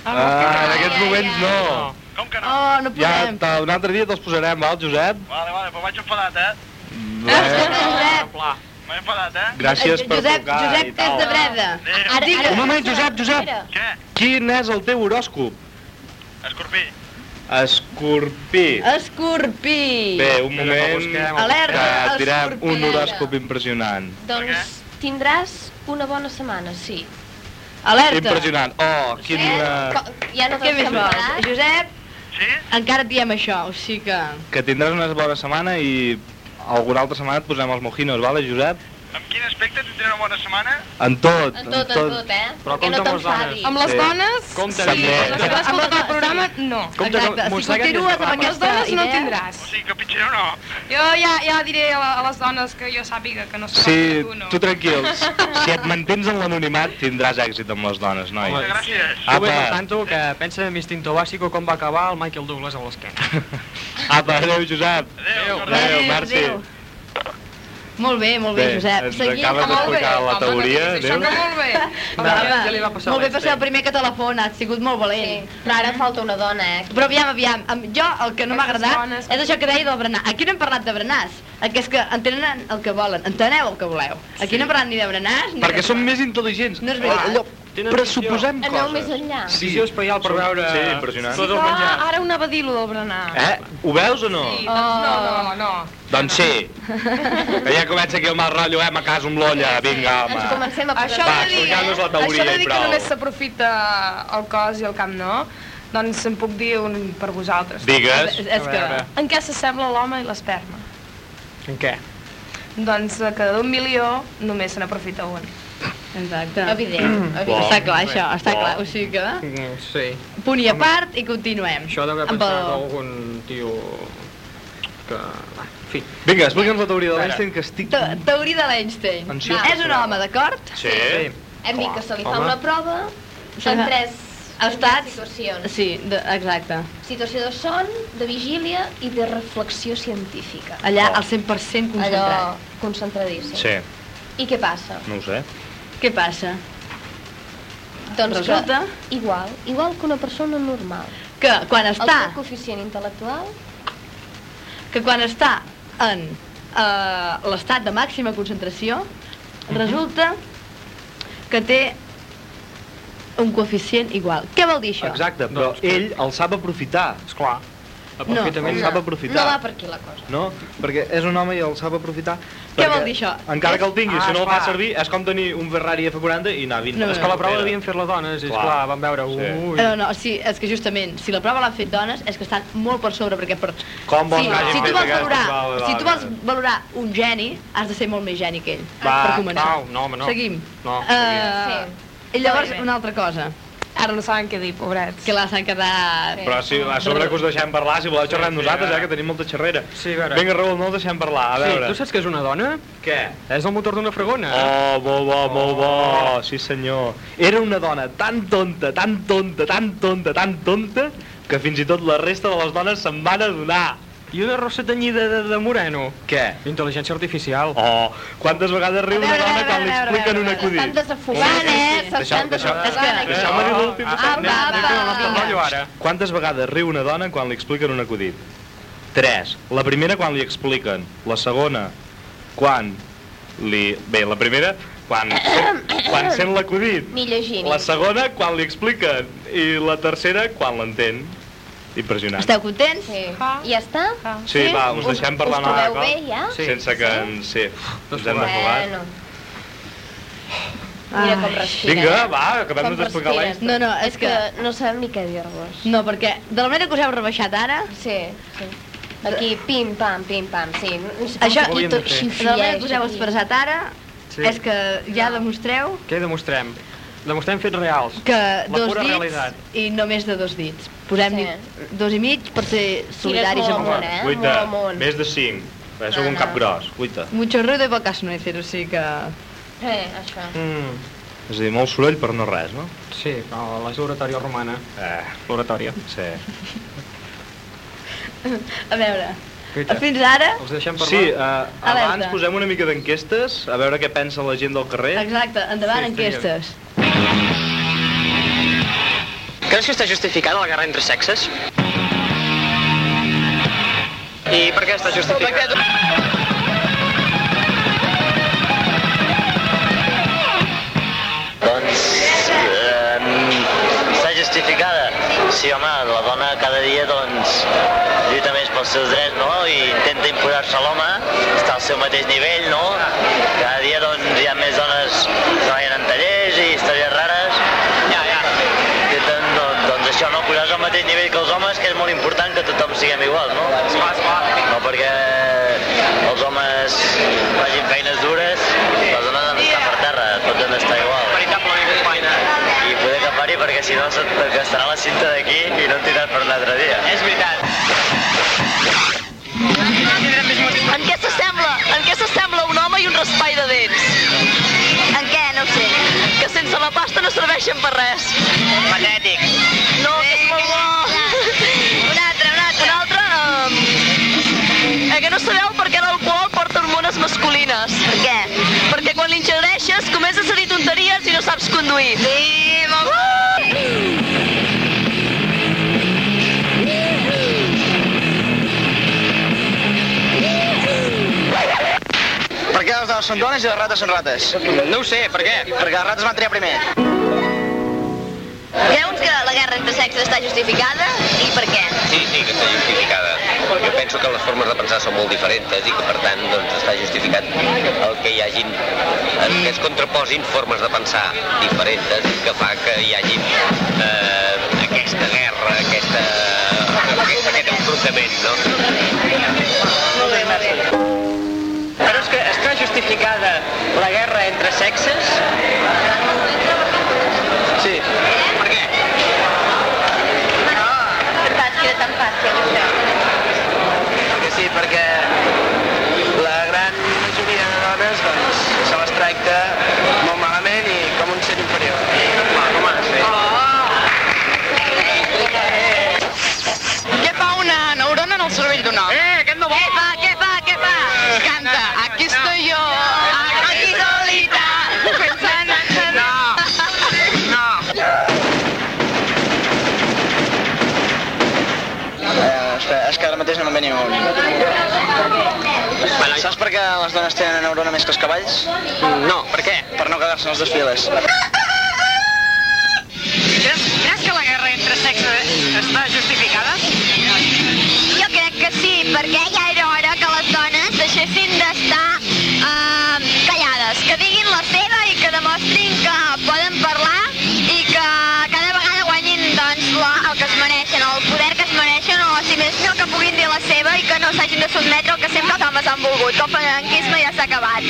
Speaker 1: Ah, en aquests moments no.
Speaker 10: Com que no?
Speaker 3: Oh, no
Speaker 1: Ja,
Speaker 3: podem.
Speaker 1: te- un altre dia te'ls posarem, val, Josep?
Speaker 10: Vale, vale, però vaig enfadat, eh?
Speaker 1: Bé.
Speaker 3: Josep,
Speaker 2: Pla.
Speaker 10: M'he enfadat, eh?
Speaker 1: Gràcies per
Speaker 3: Josep,
Speaker 1: trucar
Speaker 3: Josep,
Speaker 1: i
Speaker 3: que és de
Speaker 1: tal.
Speaker 3: Breda.
Speaker 10: Adéu.
Speaker 7: Ara,
Speaker 3: Digues.
Speaker 7: ara,
Speaker 1: Un moment, Josep, Josep.
Speaker 7: Mira,
Speaker 10: Què?
Speaker 1: Quin és el teu horòscop?
Speaker 10: Escorpí.
Speaker 1: Escorpí.
Speaker 3: Escorpí.
Speaker 1: Bé, un
Speaker 2: Mira, que
Speaker 1: moment
Speaker 2: busquem.
Speaker 1: que
Speaker 3: Alerta,
Speaker 1: et direm
Speaker 3: escorpí.
Speaker 1: un horòscop impressionant.
Speaker 7: Doncs tindràs una bona setmana, sí. Eh?
Speaker 3: Alerta.
Speaker 1: Impressionant. Oh, quina...
Speaker 7: Co- Ja no
Speaker 3: Què
Speaker 7: te'n
Speaker 3: més vols?
Speaker 7: semblaràs.
Speaker 3: Josep,
Speaker 10: Sí?
Speaker 3: encara et diem això, o sigui que...
Speaker 1: Que tindràs una bona setmana i alguna altra setmana et posem els mojinos, vale, Josep?
Speaker 10: Amb quin aspecte tindré una bona setmana?
Speaker 1: En tot,
Speaker 7: En tot, en tot, eh?
Speaker 2: Però
Speaker 7: que
Speaker 2: compta
Speaker 7: no
Speaker 2: amb les dones.
Speaker 7: t'enfadis.
Speaker 5: Amb les
Speaker 1: Sí.
Speaker 5: dones,
Speaker 2: Compte
Speaker 1: També.
Speaker 5: sí, les que has escoltat el programa, no.
Speaker 2: Compte que
Speaker 3: Exacte, si
Speaker 2: mosseguen des
Speaker 3: continues
Speaker 2: de
Speaker 3: amb
Speaker 2: fa
Speaker 5: Amb les
Speaker 3: aquesta
Speaker 5: dones no
Speaker 3: idea-
Speaker 5: tindràs.
Speaker 10: O sigui que pitjor no.
Speaker 5: Jo ja, ja diré a, la- a les dones que jo sàpiga que no sé
Speaker 1: Sí,
Speaker 5: tu no.
Speaker 1: tu tranquil. Si et mantens en l'anonimat, tindràs èxit amb les
Speaker 10: Moltes
Speaker 1: dones, noi.
Speaker 10: gràcies.
Speaker 2: Tu ves
Speaker 1: Apa.
Speaker 2: al tanto que pensa en Instinto Básico com va acabar el Michael Douglas a l'esquena.
Speaker 1: Apa, adéu, Josep.
Speaker 10: Adéu.
Speaker 1: Adéu,
Speaker 3: Adéu,
Speaker 1: Merci.
Speaker 3: adéu. Molt bé, molt bé,
Speaker 1: Bé,
Speaker 3: Josep.
Speaker 1: ens
Speaker 3: Seguim.
Speaker 1: acabes
Speaker 3: Molt bé.
Speaker 1: d'explicar la
Speaker 5: Home,
Speaker 7: doncs
Speaker 1: teoria,
Speaker 5: que sí,
Speaker 1: adéu.
Speaker 5: Sona molt bé.
Speaker 2: Va,
Speaker 3: Home,
Speaker 2: ja li va passar
Speaker 3: molt bé per ser
Speaker 2: l'Einstein.
Speaker 3: el primer que telefona, has sigut molt
Speaker 7: Sí,
Speaker 3: valent.
Speaker 7: però ara falta una dona, eh?
Speaker 3: Però aviam, aviam, em- jo el que no m'ha
Speaker 5: Aquestes
Speaker 3: agradat
Speaker 5: dones-
Speaker 3: és això que deia del berenar. Aquí no hem parlat de berenars, aquí és que entenen el que volen, enteneu el que voleu. Aquí no hem parlat ni de berenars ni
Speaker 1: Perquè
Speaker 3: de...
Speaker 1: som més intel·ligents.
Speaker 3: No és veritat.
Speaker 1: Allò,
Speaker 2: Tenen
Speaker 1: pressuposem
Speaker 7: Aneu més
Speaker 1: coses.
Speaker 7: enllà.
Speaker 1: Sí.
Speaker 2: Visió espaial per
Speaker 1: Som-
Speaker 2: veure
Speaker 1: Sí, impressionant.
Speaker 2: tot el
Speaker 5: Però
Speaker 2: menjar.
Speaker 5: Ah, ara un abadilo del berenar.
Speaker 1: Eh? Ho veus o no?
Speaker 5: Sí, doncs no, no, no.
Speaker 1: Doncs sí. Que ja comença aquí el mal rotllo, eh? Me caso amb l'olla. Vinga,
Speaker 5: Eh,
Speaker 3: Doncs
Speaker 7: Ens
Speaker 1: home.
Speaker 7: comencem a
Speaker 5: Això
Speaker 1: Va,
Speaker 5: de dir,
Speaker 1: explicar-nos la teoria
Speaker 5: això de
Speaker 1: i
Speaker 5: dir que
Speaker 1: prou.
Speaker 5: només s'aprofita el cos i el camp no, doncs en puc dir un per vosaltres.
Speaker 1: Digues.
Speaker 3: És, és
Speaker 2: A
Speaker 3: que...
Speaker 2: veure.
Speaker 5: En què s'assembla l'home i l'esperma?
Speaker 2: En què?
Speaker 5: Doncs eh, que d'un milió només se n'aprofita un.
Speaker 3: Exacte.
Speaker 7: Evident, evident.
Speaker 1: Bo.
Speaker 3: Està clar, això, està
Speaker 1: Bo.
Speaker 3: clar. O sigui que...
Speaker 2: Mm, Sí.
Speaker 3: Punt i a part i continuem.
Speaker 2: Això deu haver
Speaker 3: Amb
Speaker 2: pensat
Speaker 3: el-
Speaker 2: algun tio que... Va, en fi.
Speaker 1: Vinga, explica'ns la teoria de
Speaker 2: Espera.
Speaker 1: l'Einstein, que estic...
Speaker 3: Te- Teoria de l'Einstein.
Speaker 1: Ansiós
Speaker 3: Va.
Speaker 1: per
Speaker 3: És un home, d'acord?
Speaker 1: Sí.
Speaker 7: Hem dit que se li fa
Speaker 2: Home.
Speaker 7: una prova
Speaker 3: Se
Speaker 7: en
Speaker 3: fa-
Speaker 7: tres
Speaker 3: Estats-
Speaker 7: situacions.
Speaker 3: Sí, de, exacte.
Speaker 7: Situació de son, de vigília i de reflexió científica.
Speaker 3: Allà
Speaker 1: Oh.
Speaker 3: al 100% concentrat.
Speaker 7: Allò concentradíssim.
Speaker 1: Sí.
Speaker 7: I què passa?
Speaker 1: No ho sé.
Speaker 3: Què passa?
Speaker 7: Doncs
Speaker 3: Resulta-
Speaker 7: que igual, igual que una persona normal.
Speaker 3: Que quan està,
Speaker 7: El teu coeficient intel·lectual
Speaker 3: que quan està en eh, l'estat de màxima concentració, resulta que té un coeficient igual. Què vol dir això?
Speaker 1: Exacte, però ell el sap aprofitar.
Speaker 2: Doncs Esclar.
Speaker 1: El sap aprofitar.
Speaker 3: No va per aquí la cosa.
Speaker 1: No, perquè és un home i el sap aprofitar.
Speaker 3: Què
Speaker 1: perquè
Speaker 3: vol dir això?
Speaker 1: Encara
Speaker 3: És-
Speaker 1: que el tingui,
Speaker 2: Ah,
Speaker 1: si no el fa
Speaker 2: esclar.
Speaker 1: servir, és com tenir un Ferrari F40 i anar 20.
Speaker 2: No, és que la prova devien fer-la dones, i
Speaker 1: Clar.
Speaker 2: esclar, van veure...
Speaker 1: Sí.
Speaker 2: Ui,
Speaker 3: Eh, no, sí, és que justament, si la prova l'han fet dones, és que estan molt per sobre, perquè per...
Speaker 1: Com vols
Speaker 3: si,
Speaker 1: que hagin
Speaker 3: si tu
Speaker 1: fet
Speaker 3: vols
Speaker 1: aquesta?
Speaker 3: valorar,
Speaker 1: Va, va, va,
Speaker 3: si tu vols
Speaker 1: va.
Speaker 3: valorar un geni, has de ser molt més geni que ell,
Speaker 2: Va,
Speaker 3: Ah, per començar.
Speaker 2: au, no, home, no.
Speaker 3: Seguim.
Speaker 2: No,
Speaker 3: Eh, I llavors, una altra cosa.
Speaker 11: Ara no saben què dir, pobrets.
Speaker 3: Que la s'han quedat...
Speaker 1: Però si a sobre que us deixem parlar, si voleu xerrar amb nosaltres,
Speaker 2: sí,
Speaker 1: ja que tenim molta xerrera.
Speaker 2: Sí, a veure.
Speaker 1: Vinga, Raül, no el deixem parlar, a
Speaker 2: Sí,
Speaker 1: veure.
Speaker 2: tu saps que és una dona?
Speaker 1: Què?
Speaker 2: És el motor d'una fregona. eh? Oh.
Speaker 1: Oh, molt bo, molt bo, sí senyor. Era una dona tan tonta, tan tonta, tan tonta, tan tonta, que fins i tot la resta de les dones se'n van adonar.
Speaker 2: I una rossa tenyida de, de moreno.
Speaker 1: Què?
Speaker 2: Intel·ligència artificial.
Speaker 1: Oh, quantes vegades riu una dona quan li expliquen un
Speaker 7: estan
Speaker 1: acudit?
Speaker 7: desafogant, eh?
Speaker 1: Deixeu-
Speaker 7: S'estan
Speaker 1: deixeu-
Speaker 7: desafogant aquí.
Speaker 1: Deixeu-me dir l'últim.
Speaker 10: Ah,
Speaker 7: Apa, apa.
Speaker 2: ara.
Speaker 1: Quantes vegades riu una dona quan li expliquen un acudit? Tres. La primera quan li expliquen. La segona quan li... Bé, la primera quan, quan sent l'acudit.
Speaker 7: Ni llegint.
Speaker 1: La segona quan li expliquen. I la tercera quan l'entén. Impressionant.
Speaker 3: Esteu contents?
Speaker 7: Sí. Ja està?
Speaker 1: Sí, va, us deixem parlar
Speaker 7: Us trobeu
Speaker 1: cop,
Speaker 7: bé, ja?
Speaker 2: Sí.
Speaker 1: Sense que ens... Sí, ens hem afogat.
Speaker 7: Bueno. Mira com respira.
Speaker 1: Vinga,
Speaker 7: eh?
Speaker 1: va, acabem d'explicar la història.
Speaker 3: No, no, és
Speaker 7: És que no sabem ni què dir-vos.
Speaker 3: No, perquè de la manera que us heu rebaixat ara,
Speaker 7: Sí, sí. Aquí, pim, pam, pim, pam, sí.
Speaker 3: això,
Speaker 2: ho
Speaker 3: i
Speaker 2: havíem
Speaker 3: tot,
Speaker 2: de fer.
Speaker 3: de la manera que us heu expressat ara,
Speaker 2: Sí.
Speaker 3: és que ja demostreu
Speaker 2: Què demostrem? Demostrem fets reals.
Speaker 3: que
Speaker 2: La
Speaker 3: dos
Speaker 2: pura
Speaker 3: dits
Speaker 2: realitat.
Speaker 3: i no més de dos dits. Posem
Speaker 7: Sí.
Speaker 3: sí. dos i mig per ser solidaris
Speaker 7: molt amunt,
Speaker 3: amb vosaltres.
Speaker 7: eh?
Speaker 1: Guita,
Speaker 7: Molt Ah. amunt.
Speaker 1: més de cinc. Bé, Sóc un
Speaker 7: No,
Speaker 1: cap
Speaker 7: no.
Speaker 1: gros, guita.
Speaker 3: Mucho ruido y pocas nueces, o sigui que...
Speaker 7: Eh, això.
Speaker 2: Mm,
Speaker 1: És a dir, molt soroll per no res, no?
Speaker 2: sí, però la l'oratòria romana.
Speaker 1: Eh,
Speaker 2: L'oratòria.
Speaker 1: sí.
Speaker 3: Mm. A veure,
Speaker 2: Guita,
Speaker 3: fins ara...
Speaker 2: els deixem parlar?
Speaker 1: Sí, eh, abans
Speaker 3: Alerta.
Speaker 1: posem una mica d'enquestes, a veure què pensa la gent del carrer.
Speaker 3: Exacte,
Speaker 2: Sí,
Speaker 3: endavant enquestes.
Speaker 12: Creus que està justificada la guerra entre sexes? I per què està justificada? Doncs... Eh, està justificada. Sí, home, la dona cada dia, doncs, lluita més pels seus drets, no? I intenta imposar-se a l'home, està al seu mateix nivell, no? Cada dia, doncs, hi ha més dones treballant en tallers i històries rares. Ja, ja. Intenten, no, doncs, això, no? Posar-se al mateix nivell que els homes, que és molt important que tothom siguem iguals, no? Esclar, esclar. No perquè els homes facin feines dures, les dones han d'estar per terra, tot han d'estar igual. Veritablement, companya. I poder que pari perquè si no se't gastarà la cinta d'aquí i no en tindràs per un altre dia. És veritat.
Speaker 10: En què s'assembla? En què s'assembla un home i un raspall de dents? En què? No sé. Que sense la pasta no serveixen per res.
Speaker 12: Patètic.
Speaker 10: No, que és molt bo. Un altre, un altre. Un altre, um... eh, que no sabeu per què l'alcohol porta hormones masculines. Per què? Perquè quan l'ingereixes comences a dir tonteries i no saps
Speaker 6: Eh,
Speaker 10: conduir. Sí, molt uh!
Speaker 12: Per què les dones són dones i les rates són rates? No ho sé, per què? Perquè les rates van triar primer.
Speaker 10: Creus que la guerra entre sexes està justificada? I per què?
Speaker 13: Sí, sí, que està justificada. Jo penso que les formes de pensar són molt diferents i que, per tant, doncs, està justificat el que hi hagin, el que es contraposin formes de pensar diferents i que fa que hi hagin eh, aquesta guerra, aquesta, aquest, aquest enfrontament, no?
Speaker 12: Creus que està justificada la guerra entre sexes? Sí. Per què?
Speaker 10: Tan fàcil, tan fàcil, això.
Speaker 12: Perquè sí, perquè la gran majoria de dones doncs, se les tracta molt malament i com un ser inferior. Home, home, sí.
Speaker 10: Oh! Què fa una neurona en el cervell d'un home? Eh, aquest no vol! Què fa, què fa, què fa? Canta, aquí estoy yo, aquí estoy
Speaker 14: Eh, les dones tenen neurona més que els cavalls?
Speaker 13: No, per què?
Speaker 14: Per no cagar-se en els desfiles.
Speaker 10: Creus, creus que la guerra entre sexes està justificada? Jo crec que sí, perquè ja era hora que les dones deixessin d'estar eh, callades, que diguin la seva i que demostrin que poden parlar i que cada vegada guanyin doncs, la, el que es mereixen, el poder que es mereixen, o si més no, que puguin dir la seva i que no s'hagin de sotmetre al que sempre els homes han volgut. El franquisme ja s'ha acabat.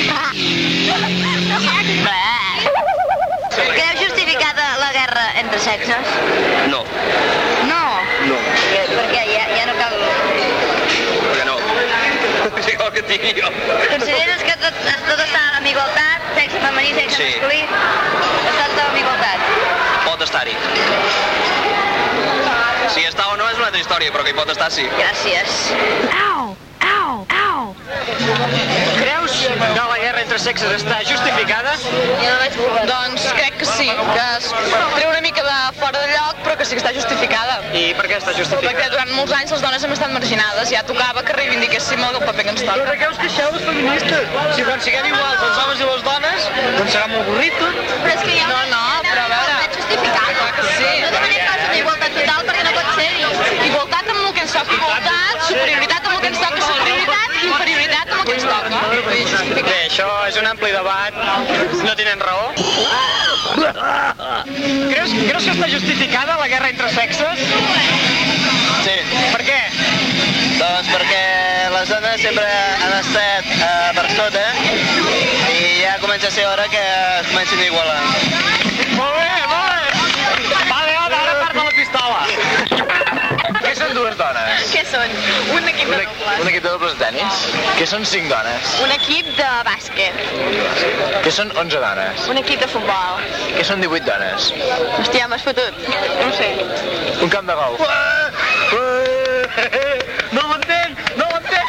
Speaker 10: Creu justificada la guerra entre sexes?
Speaker 13: No,
Speaker 10: No.
Speaker 13: no.
Speaker 10: Perquè, perquè ja, ja no cal...
Speaker 13: Perquè no. Sí, el que et digui jo.
Speaker 10: Consideres que tot, tot està en igualtat, sexe femení, sexe
Speaker 13: Sí.
Speaker 10: masculí? Està tot en igualtat.
Speaker 13: Pot estar-hi. Si hi està o no és una altra història, però que hi pot estar sí.
Speaker 10: Gràcies.
Speaker 6: Au! Au! Au!
Speaker 12: Creus que la guerra entre sexes està justificada?
Speaker 6: Doncs crec que sí, que es treu una mica de fora de lloc, però que sí que està justificada.
Speaker 12: I per què està
Speaker 6: Perquè
Speaker 12: justificada?
Speaker 6: durant molts anys les dones hem estat marginades, ja tocava que reivindiquéssim el paper que ens toca. Però creus que això és feminista?
Speaker 12: Si quan siguem iguals els homes i les dones, doncs serà molt avorrit tot.
Speaker 6: Però és que ja... No, no, però a veure... Clar que sí. No demanem pas una igualtat total perquè no pot ser. Igualtat amb el que ens toca igualtat, superioritat amb el que ens toca superioritat, i inferioritat amb el que ens toca. Vull dir, justificar.
Speaker 12: Bé, això és un ampli debat, no tenen raó. Creus, creus que està justificada la guerra entre sexes?
Speaker 14: Sí. Per què? Doncs perquè les dones sempre han estat eh, per sota i ja comença a ser hora que es comencin a igualar.
Speaker 12: Molt bé, molt bé. Vale, home, ara parla la pistola.
Speaker 15: Què són dues dones?
Speaker 6: Què són? Un equip de
Speaker 15: Un
Speaker 6: dobles.
Speaker 15: equip de dobles de tenis? Què són cinc dones?
Speaker 6: Un equip de bàsquet.
Speaker 15: Què són 11 dones?
Speaker 6: Un equip de futbol.
Speaker 15: Què són 18 dones?
Speaker 6: Hòstia, m'has fotut. No ho sé.
Speaker 15: Un camp de golf.
Speaker 12: No m'entén, no m'entén.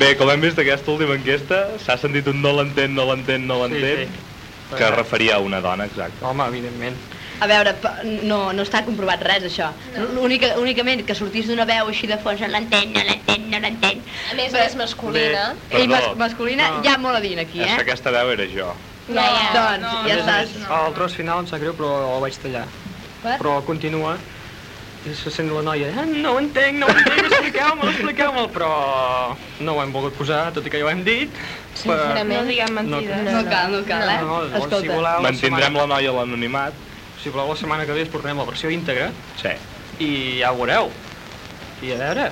Speaker 1: Bé, com hem vist aquesta última enquesta, s'ha sentit un no l'entén, no l'entén, no l'entén,
Speaker 2: sí.
Speaker 1: que es referia a una dona, exacte.
Speaker 2: Home, evidentment.
Speaker 3: A veure, pa- no, no està comprovat res, això. Única, únicament que sortís d'una veu així de fons, no l'entenc, no l'entenc, no l'entenc.
Speaker 16: A més, més masculina.
Speaker 1: Bé,
Speaker 3: I mas,
Speaker 1: perdó.
Speaker 3: masculina
Speaker 2: No.
Speaker 3: ja molt a dir aquí,
Speaker 1: És que
Speaker 3: eh?
Speaker 1: aquesta veu era jo.
Speaker 3: No, doncs, ja
Speaker 2: Res
Speaker 3: estàs.
Speaker 2: més. El tros final em sap greu, però el vaig tallar.
Speaker 3: What?
Speaker 2: Però continua i se sent la noia, "Ah, no ho entenc, no ho entenc, expliqueu-me'l, expliqueu-me'l, però no ho hem volgut posar, tot i que ja ho hem dit.
Speaker 5: Sincerament. No diguem mentides.
Speaker 3: No cal, no cal, eh?
Speaker 2: No, no, llavors, si
Speaker 3: Escolta.
Speaker 2: voleu, la
Speaker 1: Mantindrem
Speaker 2: setmana-
Speaker 1: la noia a l'anonimat.
Speaker 2: Si voleu, la setmana que ve es portarem la versió íntegra
Speaker 1: Sí.
Speaker 2: i ja ho veureu. I a veure...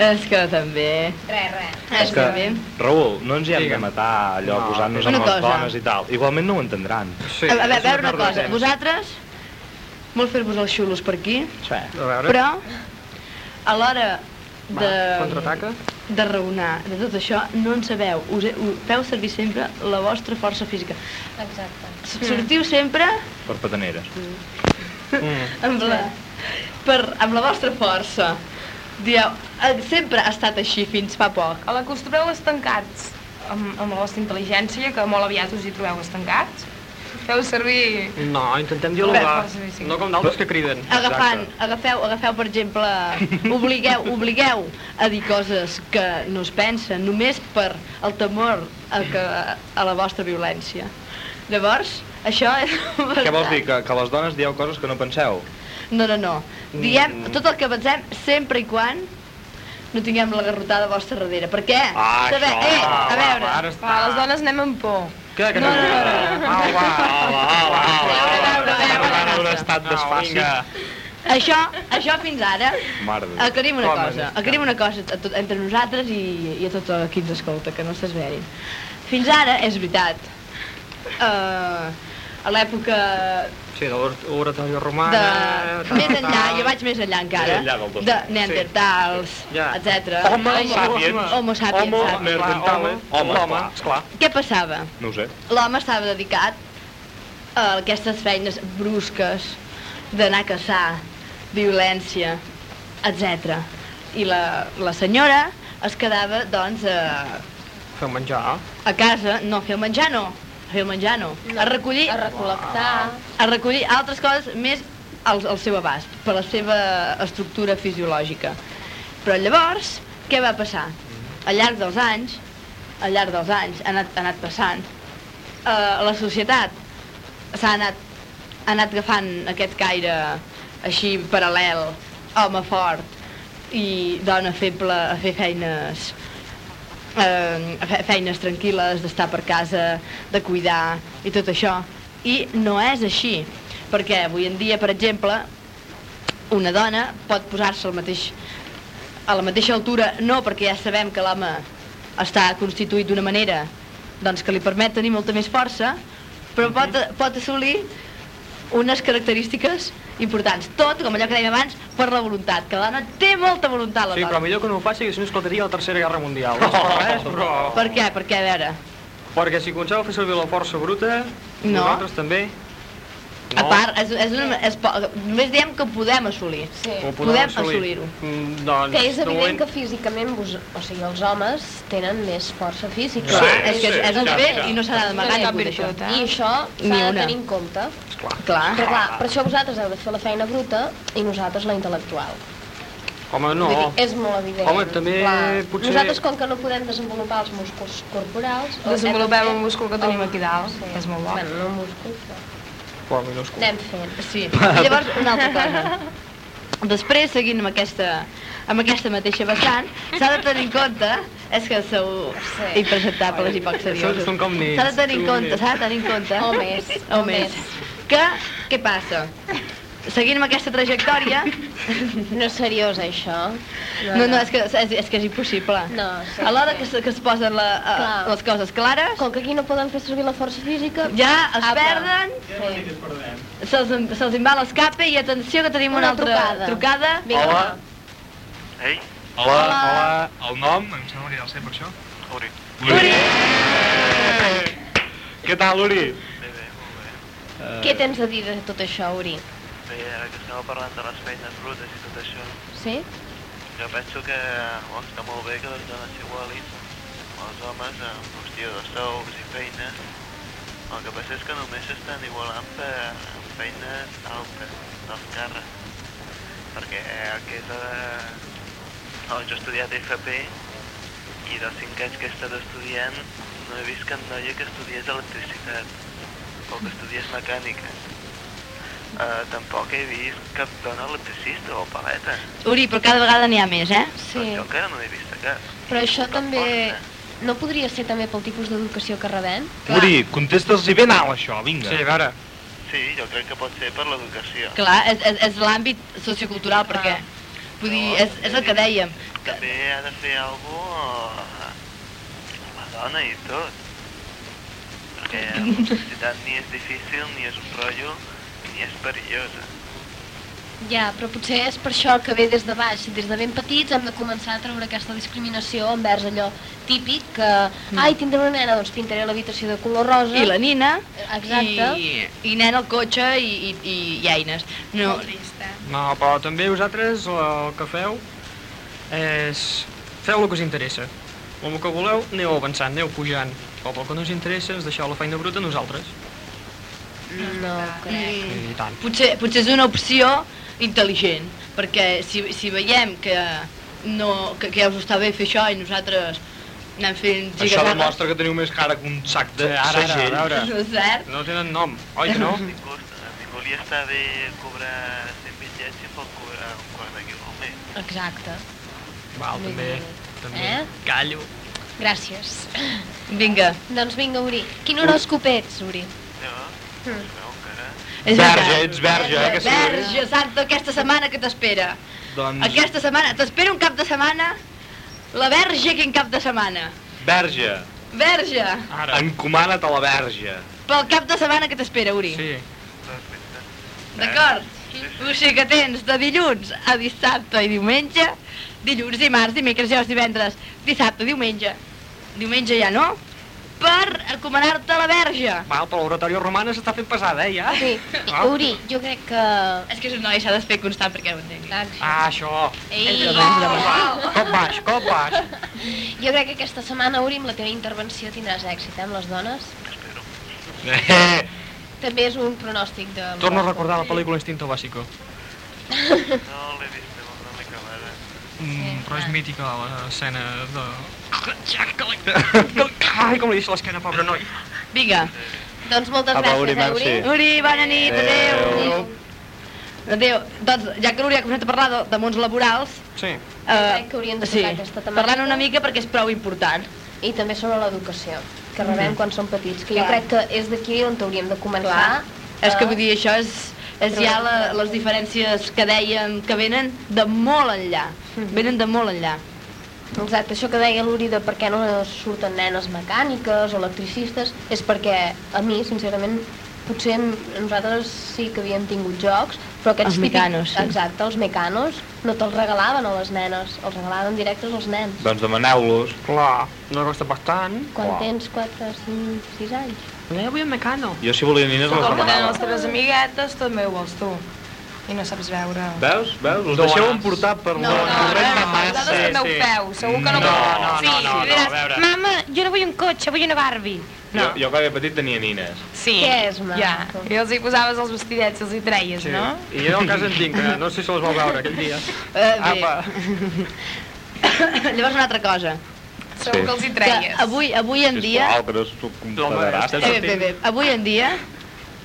Speaker 3: És que també...
Speaker 16: Res, res.
Speaker 1: És que, Raül, no ens hi hem de matar allò
Speaker 2: No,
Speaker 1: posant-nos
Speaker 3: una
Speaker 1: amb les
Speaker 3: cosa.
Speaker 1: dones i tal. Igualment no ho entendran.
Speaker 3: Sí, a, a, ve- a veure una cosa, vosaltres, molt fer-vos els xulos per aquí,
Speaker 1: Sí.
Speaker 3: però a l'hora de,
Speaker 2: Contraataca?
Speaker 3: de raonar de tot això, no en sabeu, us, he- u- feu servir sempre la vostra força física.
Speaker 16: Exacte.
Speaker 3: S- Sortiu sempre
Speaker 1: Per pataneres.
Speaker 2: Mm.
Speaker 3: amb la, per, amb la vostra força. Dieu, "Eh, sempre ha estat així fins fa poc.
Speaker 5: A l'acostumeu estancats amb, amb la vostra intel·ligència, que molt aviat us hi trobeu estancats. Feu servir...
Speaker 2: No, intentem dialogar,
Speaker 5: Bé, sí, sí.
Speaker 2: no com d'altres que criden.
Speaker 3: agafant,
Speaker 2: Exacte.
Speaker 3: agafeu, agafeu, per exemple, obligueu, obligueu a dir coses que no es pensen, només per el temor a, que, a la vostra violència. Llavors, això és...
Speaker 1: Què vols dir? Que, que les dones dieu coses que no penseu?
Speaker 3: No, no, no. Diem
Speaker 1: Mm.
Speaker 3: tot el que pensem sempre i quan no tinguem la garrotada vostra darrere. Per què?
Speaker 1: Ah,
Speaker 3: Saber...
Speaker 1: això,
Speaker 3: Eh, a
Speaker 1: va,
Speaker 3: veure...
Speaker 2: Ah,
Speaker 1: va, ara
Speaker 5: Va, les dones anem amb por.
Speaker 2: Què, que no?
Speaker 5: No, no,
Speaker 2: Au, va, au, va, au, va, au, va.
Speaker 1: Ara un estat desfàcil.
Speaker 3: Això, això fins ara,
Speaker 1: Mare de Déu.
Speaker 3: aclarim una
Speaker 1: Com
Speaker 3: cosa,
Speaker 1: és?
Speaker 3: aclarim una cosa a tot, entre nosaltres i, i a tot el qui ens escolta, que no s'esverin. Fins ara, és veritat, eh, a l'època
Speaker 2: Ah, Sí, de l'or- l'oratòria romana...
Speaker 3: de...
Speaker 2: tal,
Speaker 3: Més enllà,
Speaker 2: tal.
Speaker 3: jo vaig més enllà encara,
Speaker 2: Més enllà del dos
Speaker 3: de
Speaker 2: mil.
Speaker 3: neandertals,
Speaker 2: Ja.
Speaker 3: etc.
Speaker 2: Homo sapiens.
Speaker 3: Homo sapiens.
Speaker 2: Homo
Speaker 3: sapiens.
Speaker 2: neandertales. Home, home, esclar.
Speaker 3: Què passava?
Speaker 1: No ho sé.
Speaker 3: L'home estava dedicat a aquestes feines brusques d'anar a caçar, violència, etc. I la, la senyora es quedava, doncs, a,
Speaker 2: Feu menjar.
Speaker 3: a casa, no a fer el menjar, no, A fer el menjar no.
Speaker 7: No,
Speaker 3: A recollir...
Speaker 7: a recol·lectar.
Speaker 3: A recollir altres coses més al, al seu abast, per la seva estructura fisiològica. Però llavors, què va passar? Al llarg dels anys, al llarg dels anys, ha anat, ha anat passant, eh, la societat s'ha anat, ha anat agafant aquest caire així paral·lel, home fort i dona feble a fer feines eh, a fer feines tranquil·les, d'estar per casa, de cuidar i tot això. I no és així, perquè avui en dia, per exemple, una dona pot posar-se al mateix, a la mateixa altura, no perquè ja sabem que l'home està constituït d'una manera doncs, que li permet tenir molta més força,
Speaker 2: Mhm.
Speaker 3: però pot, pot assolir unes característiques importants. Tot, com allò que dèiem abans, per la voluntat, que la dona té molta voluntat, la
Speaker 2: Sí,
Speaker 3: dona.
Speaker 2: però millor que no ho faci, que si no esclataria la Tercera Guerra Mundial. No és per res, però...
Speaker 3: Per què? Per què, a veure?
Speaker 2: Perquè si començava a fer servir la força bruta,
Speaker 3: No.
Speaker 2: nosaltres també...
Speaker 3: A part, és, és una, és, po- només diem que podem assolir. Sí.
Speaker 2: Ho
Speaker 3: Podem assolir-ho.
Speaker 2: Mm, doncs,
Speaker 7: Que és
Speaker 2: de
Speaker 7: evident
Speaker 2: moment-
Speaker 7: que físicament, vos, o sigui, els homes tenen més força física.
Speaker 3: Clar, Sí, és que és- és un sí, fet sí. i no s'ha d'amagar
Speaker 7: No té
Speaker 3: ningú
Speaker 7: cap
Speaker 3: d'això.
Speaker 7: virtut, eh? I això
Speaker 3: Ni
Speaker 7: s'ha de
Speaker 3: una.
Speaker 7: tenir en compte.
Speaker 3: Clar.
Speaker 7: Però clar, per això vosaltres heu de fer la feina bruta i nosaltres la intel·lectual.
Speaker 2: Home, no.
Speaker 7: Vull dir, és molt evident.
Speaker 2: Home, també potser-
Speaker 7: Nosaltres, com que no podem desenvolupar els músculs corporals...
Speaker 5: Desenvolupem el
Speaker 7: múscul que tenim aquí dalt, sí. és molt bo. Bueno, no múscul, però...
Speaker 2: Però minúscul.
Speaker 7: Anem fent.
Speaker 3: Sí. I llavors, una altra cosa. Després, seguint amb aquesta, amb aquesta mateixa vessant, s'ha de tenir en compte, és que sou impresentables i poc
Speaker 2: Això
Speaker 3: seriosos.
Speaker 2: són com nits,
Speaker 3: S'ha de tenir en
Speaker 2: són
Speaker 3: compte,
Speaker 2: nits.
Speaker 3: s'ha de tenir en compte.
Speaker 7: O més,
Speaker 3: O
Speaker 7: o
Speaker 3: més.
Speaker 7: més.
Speaker 3: Que, què passa? Seguint amb aquesta trajectòria...
Speaker 7: No és seriós, això.
Speaker 3: No, no, és que és, és, que és impossible.
Speaker 7: No, sí,
Speaker 3: a l'hora
Speaker 7: sí.
Speaker 3: que, se- que es posen la, a,
Speaker 7: Clar.
Speaker 3: les coses clares...
Speaker 7: Com que aquí no poden fer servir la força física... ah,
Speaker 3: Ja es
Speaker 7: apa.
Speaker 3: perden.
Speaker 7: Sí.
Speaker 3: Se'ls se en va l'escape i atenció que tenim una,
Speaker 7: Una
Speaker 3: altra
Speaker 7: trucada.
Speaker 3: trucada.
Speaker 7: Vinga, Hola. va.
Speaker 1: Ei?
Speaker 3: Hola.
Speaker 1: Hola. El nom, em sembla hauria de ser per això. Uri.
Speaker 4: Eh, Què tal, Uri?
Speaker 7: Què tens a dir de tot això, Uri?
Speaker 17: Bé, ara que estava parlant de les feines brutes i tot això,
Speaker 7: Sí?
Speaker 17: jo penso que oh, està molt bé que les dones s'igualin amb els homes amb qüestió de sous i feines. El que passa és que només s'estan igualant per amb feines altes, dels càrrecs. Perquè el que és... Eh, no, jo he estudiat FP i dels 5 anys que he estat estudiant no he vist cap noia que estudiés electricitat o que estudiés mecànica. Uh, tampoc he vist cap dona electricista o paleta. Doncs
Speaker 3: Uri, però cada vegada n'hi ha més, eh?
Speaker 7: Sí.
Speaker 17: Jo encara no n'he vist cap.
Speaker 7: Però això també... No podria ser també pel tipus d'educació que rebem?
Speaker 1: Uri, contesta'ls-hi ben alt, això, vinga.
Speaker 2: Sí, a veure.
Speaker 17: Sí, jo crec que pot ser per l'educació.
Speaker 3: Clar, és, és, és l'àmbit sociocultural, perquè... Vull dir, és, és el que dèiem.
Speaker 17: També ha de fer algú eh, la dona i tot. Perquè l'electricitat ni és difícil, ni és un rotllo, ni és perillosa.
Speaker 7: Ja, però potser és per això que ve des de baix. Des de ben petits hem de començar a treure aquesta discriminació envers allò típic que... Ai, tindré una nena, doncs pintaré l'habitació de color rosa.
Speaker 3: I la nina,
Speaker 7: Exacte.
Speaker 3: i, i nen al cotxe i, i, i, i eines. No,
Speaker 2: No, però també vosaltres eh, el que feu és... Feu el que us interessa. El que voleu, aneu avançant, aneu pujant. Però pel que no us interessa, ens deixeu la feina bruta a nosaltres.
Speaker 7: no crec.
Speaker 3: Mm.
Speaker 2: I tant.
Speaker 3: potser, potser és una opció intel·ligent, perquè si, si veiem que, no, que, que ja us està bé fer això i nosaltres anem fent
Speaker 4: Això
Speaker 3: gigasaca-
Speaker 4: demostra que teniu més cara que un sac de
Speaker 2: Sí, ara, ara,
Speaker 4: segell.
Speaker 2: a veure.
Speaker 3: No és cert?
Speaker 2: No tenen nom, oi que no?
Speaker 17: Ningú, ningú li està bé cobrar 120 llets pot cobrar un quart de quilo al mes.
Speaker 7: Exacte.
Speaker 2: Val, també, també.
Speaker 7: Eh?
Speaker 2: Callo.
Speaker 7: Gràcies.
Speaker 3: Vinga.
Speaker 7: Doncs vinga, Uri. Quin horòscop ets, Uri?
Speaker 17: Jo?
Speaker 7: Mm.
Speaker 3: És
Speaker 4: Verge, ets verge, eh, que sí.
Speaker 3: Verge, santo, aquesta setmana que t'espera.
Speaker 4: Doncs,
Speaker 3: Aquesta setmana, t'espera un cap de setmana, la verge quin cap de setmana.
Speaker 4: verge,
Speaker 3: Verge,
Speaker 4: Ah. encomana't a la verge.
Speaker 3: pel cap de setmana que t'espera, Uri.
Speaker 2: Sí.
Speaker 3: D'acord? O sigui que tens de dilluns a dissabte i diumenge, dilluns, dimarts, dimecres, dijous, divendres, dissabte, diumenge, diumenge ja no, per encomanar-te a la verge.
Speaker 2: Val, però l'oratòria romana s'està fent pesada, eh, ja?
Speaker 7: Sí.
Speaker 2: Ah.
Speaker 7: Uri, jo crec que...
Speaker 3: És que és un noi, s'ha de fer constant perquè ho entengui.
Speaker 2: Ah, això.
Speaker 7: Ei,
Speaker 2: Cop baix, Cop baix, cop baix.
Speaker 7: Jo crec que aquesta setmana, Uri, amb la teva intervenció tindràs èxit, eh, amb les dones. També és un pronòstic de...
Speaker 2: Torno a recordar la pel·lícula Instinto Básico.
Speaker 17: No l'he vist, però no l'he acabada.
Speaker 2: Mm, però és mítica l'escena de... Ai, com li deixa l'esquena, pobre noi.
Speaker 3: Vinga.
Speaker 7: Doncs moltes
Speaker 2: Apa, Uri,
Speaker 7: gràcies, eh, Uri.
Speaker 2: merci.
Speaker 3: Uri, bona
Speaker 2: Eh.
Speaker 3: nit, adéu.
Speaker 2: Adéu.
Speaker 3: Adéu. Doncs, ja que l'Uri ha començat a parlar de, de mons laborals,
Speaker 2: Sí.
Speaker 3: eh,
Speaker 7: que hauríem de
Speaker 3: sí,
Speaker 7: tocar aquesta temàtica.
Speaker 3: parlant una mica perquè és prou important.
Speaker 7: I també sobre l'educació, que rebem
Speaker 3: Mhm.
Speaker 7: quan som petits, que jo
Speaker 3: Clar.
Speaker 7: crec que és d'aquí on hauríem de començar. Eh,
Speaker 3: Clar. És que
Speaker 7: a-
Speaker 3: vull dir, això és, és ja la, les diferències que dèiem que venen de molt enllà. Venen de molt enllà.
Speaker 7: Mm-hmm. Exacte, això que deia l'Uri de per què no surten nenes mecàniques o electricistes és perquè a mi, sincerament, potser m- nosaltres sí que havíem tingut jocs, però aquests
Speaker 3: Els mecanos, sí.
Speaker 7: Exacte, els mecanos no te'ls regalaven a les nenes, els regalaven directes als nens.
Speaker 1: Doncs demaneu-los.
Speaker 2: Clar, no costa bastant.
Speaker 7: Quan tens 4, 5, 6 anys.
Speaker 2: No hi havia mecano.
Speaker 1: Jo si volia nines les
Speaker 5: Com que tenen
Speaker 1: demanava.
Speaker 5: les teves amiguetes, també ho vols tu. I no saps veure.
Speaker 1: Veus? Veus? Us
Speaker 2: Dones.
Speaker 1: deixeu emportar per no, la... No,
Speaker 5: Vosaltres
Speaker 1: sí,
Speaker 5: també ho
Speaker 1: sí.
Speaker 5: feu, segur que no,
Speaker 1: No,
Speaker 5: ho-
Speaker 1: no, no,
Speaker 5: Sí,
Speaker 1: no, no,
Speaker 5: diràs,
Speaker 1: a veure.
Speaker 5: Mama, jo no vull un cotxe, vull una Barbie.
Speaker 1: Jo, jo quan era petit tenia nines.
Speaker 5: Sí.
Speaker 7: Què és, maco?
Speaker 5: Ja, i els hi posaves els vestidets, els hi treies,
Speaker 2: Sí.
Speaker 5: no?
Speaker 2: I jo en el cas en tinc, que no sé si les vau veure aquell dia.
Speaker 3: Eh, bé.
Speaker 2: Apa.
Speaker 3: Llavors una altra cosa.
Speaker 5: Segur Sí. que els hi treies.
Speaker 3: Que avui, avui en dia...
Speaker 18: Sisplau, que no sóc un pederasta.
Speaker 3: Eh, bé, bé, bé. Avui en dia...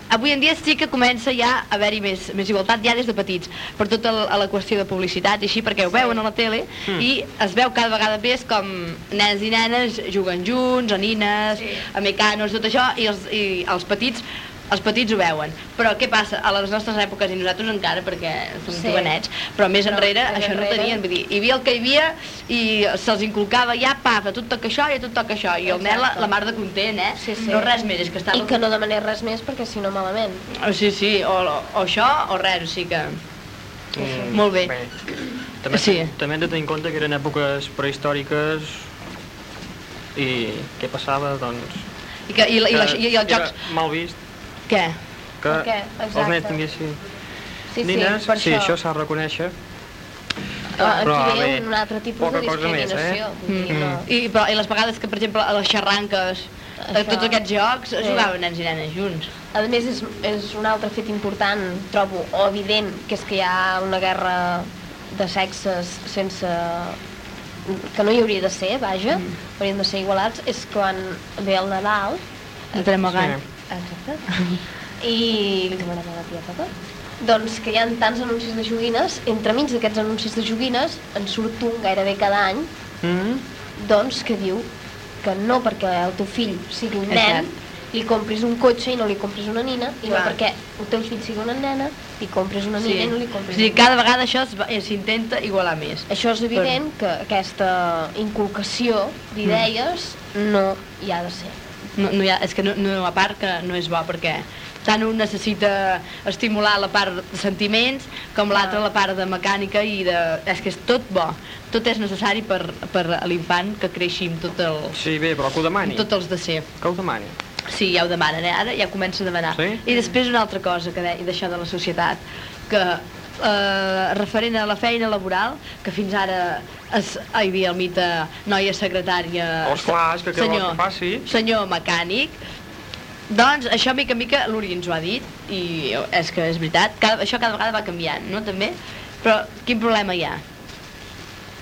Speaker 3: Avui en dia sí que comença ja a haver-hi més, més igualtat, ja des de petits, per tota la, la qüestió de publicitat i així, perquè ho veuen a la tele
Speaker 7: Mm.
Speaker 3: i es veu cada vegada més com nens i nenes juguen junts, a nines, a mecanos, tot això, i els, i els petits els petits ho veuen, però què passa? A les nostres èpoques, i nosaltres encara, perquè som
Speaker 7: Sí.
Speaker 3: jovenets, però més
Speaker 7: Però
Speaker 3: enrere
Speaker 7: més
Speaker 3: això no ho
Speaker 7: enrere-
Speaker 3: tenien, vull dir, hi havia el que hi havia i se'ls inculcava ja, paf, a tu et toca això i a tu et toca això, i el nen la,
Speaker 7: Exacte.
Speaker 3: la mar de content, eh?
Speaker 7: Sí, sí.
Speaker 3: No res més, és que estava...
Speaker 7: I que no demanés res més perquè si no malament.
Speaker 3: O, Ah, sí, sí, o, o això o res, o sigui que...
Speaker 2: Mm,
Speaker 3: Molt bé.
Speaker 2: També, sí. també hem de tenir en compte que eren èpoques prehistòriques i què passava, doncs...
Speaker 3: I que- i la- i la- i els
Speaker 2: que
Speaker 3: jocs-
Speaker 2: Era mal vist
Speaker 3: Què?
Speaker 2: que
Speaker 3: Què?
Speaker 2: els
Speaker 3: Exacte.
Speaker 2: nens tinguessin
Speaker 7: Sí, sí,
Speaker 2: nines,
Speaker 7: per
Speaker 2: sí,
Speaker 7: això.
Speaker 2: això s'ha de reconèixer.
Speaker 7: Ah, aquí
Speaker 2: Però,
Speaker 7: ve
Speaker 2: bé,
Speaker 7: un altre tipus
Speaker 2: poca
Speaker 7: de
Speaker 2: cosa més, eh?
Speaker 7: discriminació. vull dir,
Speaker 2: Mm.
Speaker 7: no.
Speaker 3: I, però, I les vegades que, per exemple, a les xerranques, a
Speaker 7: Això.
Speaker 3: tots aquests jocs,
Speaker 7: Sí.
Speaker 3: jugaven eh? nens i nenes junts.
Speaker 7: A més, és, és un altre fet important, trobo, o evident, que és que hi ha una guerra de sexes sense que no hi hauria de ser, vaja, mm. haurien de ser igualats, és quan ve el Nadal...
Speaker 3: Entrem al gall.
Speaker 7: Exacte. I li demanava a la tia Pepa. Doncs que hi ha tants anuncis de joguines, entremig d'aquests anuncis de joguines en surt un gairebé cada any,
Speaker 2: Mm.
Speaker 7: doncs, que diu que no perquè el teu fill sigui un nen, li compris un cotxe i no li compris una nina, i no
Speaker 3: Clar.
Speaker 7: perquè el teu fill sigui una nena, li compris una nina i no li
Speaker 3: o
Speaker 7: compris
Speaker 3: sigui,
Speaker 7: una
Speaker 3: cada vegada això es va- eh, s'intenta igualar més.
Speaker 7: Això és evident que aquesta inculcació d'idees
Speaker 3: Mm.
Speaker 7: no hi ha de ser.
Speaker 3: No, no hi ha, és que no, no, a part que no és bo perquè tant un necessita estimular la part de sentiments com l'altra la part de mecànica i de... és que és tot bo, tot és necessari per, per a l'infant que creixi amb tot el,
Speaker 2: Sí, bé, però que ho demani.
Speaker 3: amb tots els de ser.
Speaker 2: Que ho demani.
Speaker 3: Sí, ja ho demanen, eh? ara ja comença a demanar.
Speaker 2: Sí?
Speaker 3: I després una altra cosa que deia d'això de la societat, que eh, referent a la feina laboral, que fins ara es, ah, hi havia el mite noia secretària...
Speaker 2: Oh, esclar, és que què vol
Speaker 3: senyor,
Speaker 2: que faci?
Speaker 3: Senyor mecànic, doncs això mica en mica l'Uri ens ho ha dit i és que és veritat, cada, això cada vegada va canviant, no també? Però quin problema hi ha?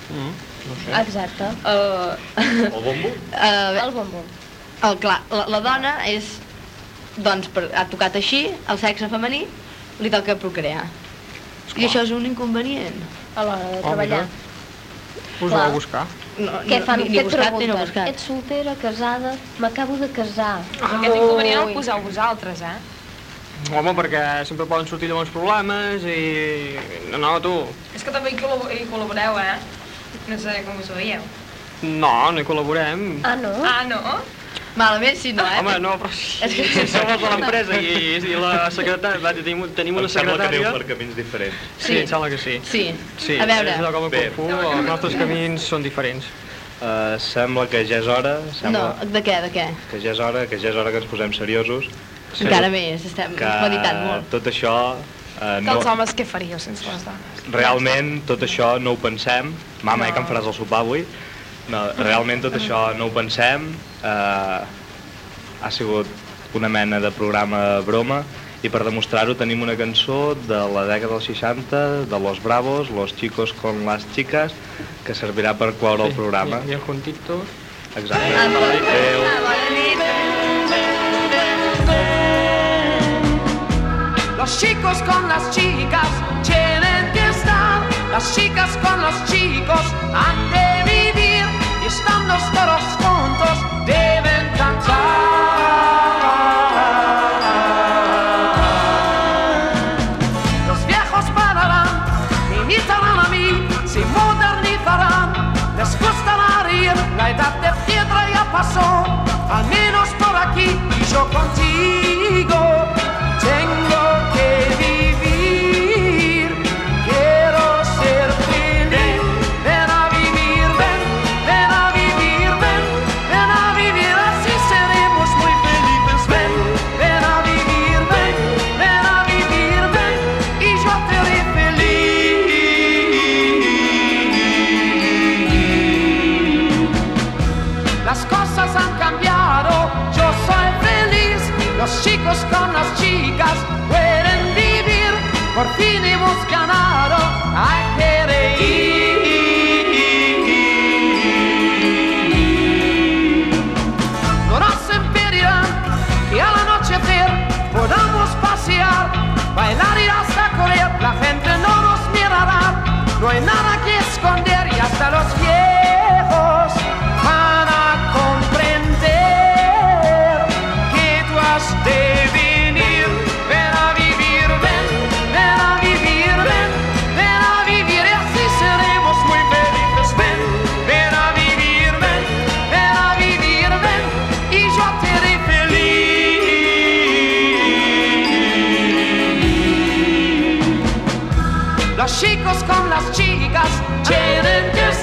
Speaker 2: Mm. No sé.
Speaker 7: Exacte.
Speaker 3: Uh,
Speaker 18: El bombo?
Speaker 3: Uh,
Speaker 7: el bombó.
Speaker 3: El, clar, la, la dona és, doncs, per, ha tocat així, el sexe femení, li toca procrear. I això és un inconvenient.
Speaker 7: A l'hora de
Speaker 2: Oh, mira.
Speaker 7: treballar.
Speaker 2: Us
Speaker 7: Clar.
Speaker 2: vau buscar.
Speaker 3: No,
Speaker 7: Què
Speaker 3: no,
Speaker 7: fan?
Speaker 3: ni- ni
Speaker 7: Què et
Speaker 3: buscat ni no
Speaker 7: pregunten?
Speaker 3: buscat.
Speaker 7: Ets soltera, casada? M'acabo de casar.
Speaker 5: Aquest inconvenient el
Speaker 7: Ui.
Speaker 5: poseu vosaltres, eh?
Speaker 2: Home, perquè sempre poden sortir llavors problemes i... No, no, tu.
Speaker 5: És que també hi, col·labo- hi col·laboreu, eh? No sé com us ho veieu.
Speaker 2: No, no hi col·laborem.
Speaker 7: Ah, no?
Speaker 5: Ah, no?
Speaker 3: Malament si no, eh?
Speaker 2: Home, no, però si, si som els de l'empresa i, i la secretària, va, tenim, tenim una
Speaker 18: Em sembla que
Speaker 2: secretària...
Speaker 18: aneu per camins diferents.
Speaker 2: Sí, em sembla que sí.
Speaker 3: Sí.
Speaker 2: Sí,
Speaker 3: A veure.
Speaker 2: és allò com a
Speaker 18: Bé.
Speaker 2: Kung Fu, els nostres camins són diferents.
Speaker 1: Uh, sembla que ja és hora,
Speaker 3: No,
Speaker 1: sembla
Speaker 3: de què, de què?
Speaker 1: que ja és hora, que ja és hora que ens posem seriosos.
Speaker 3: Encara més, estem
Speaker 1: que
Speaker 3: meditant molt.
Speaker 1: tot això... Uh,
Speaker 5: Que
Speaker 1: no,
Speaker 5: els homes què faríeu sense les dones?
Speaker 1: realment tot això no ho pensem. Mama, eh, que em
Speaker 5: No.
Speaker 1: faràs el sopar avui? No, realment tot això no ho pensem. Uh, Eh, ha sigut una mena de programa broma i per demostrar-ho tenim una cançó de la dècada dels 60, de Los Bravos, Los Chicos con las Chicas, que servirà per cloure el programa.
Speaker 2: I, i el Juntitos.
Speaker 1: Exacte. Adéu.
Speaker 10: Los chicos con las chicas tienen que estar, las chicas con los chicos han de vivir y estando todos juntos deben cantar. Los viejos pararán, me imitarán a mí, se modernizarán, les gustará reír, la edad de piedra ya pasó, al menos por aquí y yo contigo. Tengo que vivir, quiero ser feliz. Ven a vivir, ven, ven a vivir, ven, ven a vivir, así seremos muy felices. Ven, ven a vivir, ven, ven a vivir, ven, y yo te haré feliz. Las cosas han cambiado, yo soy feliz. Los chicos con las chicas pueden vivir. Por fin hemos ganado, hay que reír. No nos impedirán que al anochecer podamos pasear, bailar y hasta correr. La gente no nos mirará, no hay nada que esconder y hasta los viejos van a comprender que tú has de venir. Ven a vivir, ven, ven a vivir, ven, ven a vivir y así seremos muy felices. Ven, ven a vivir, ven, ven a vivir, ven y yo te haré feliz. Los chicos con las chicas tienen que estar. ah.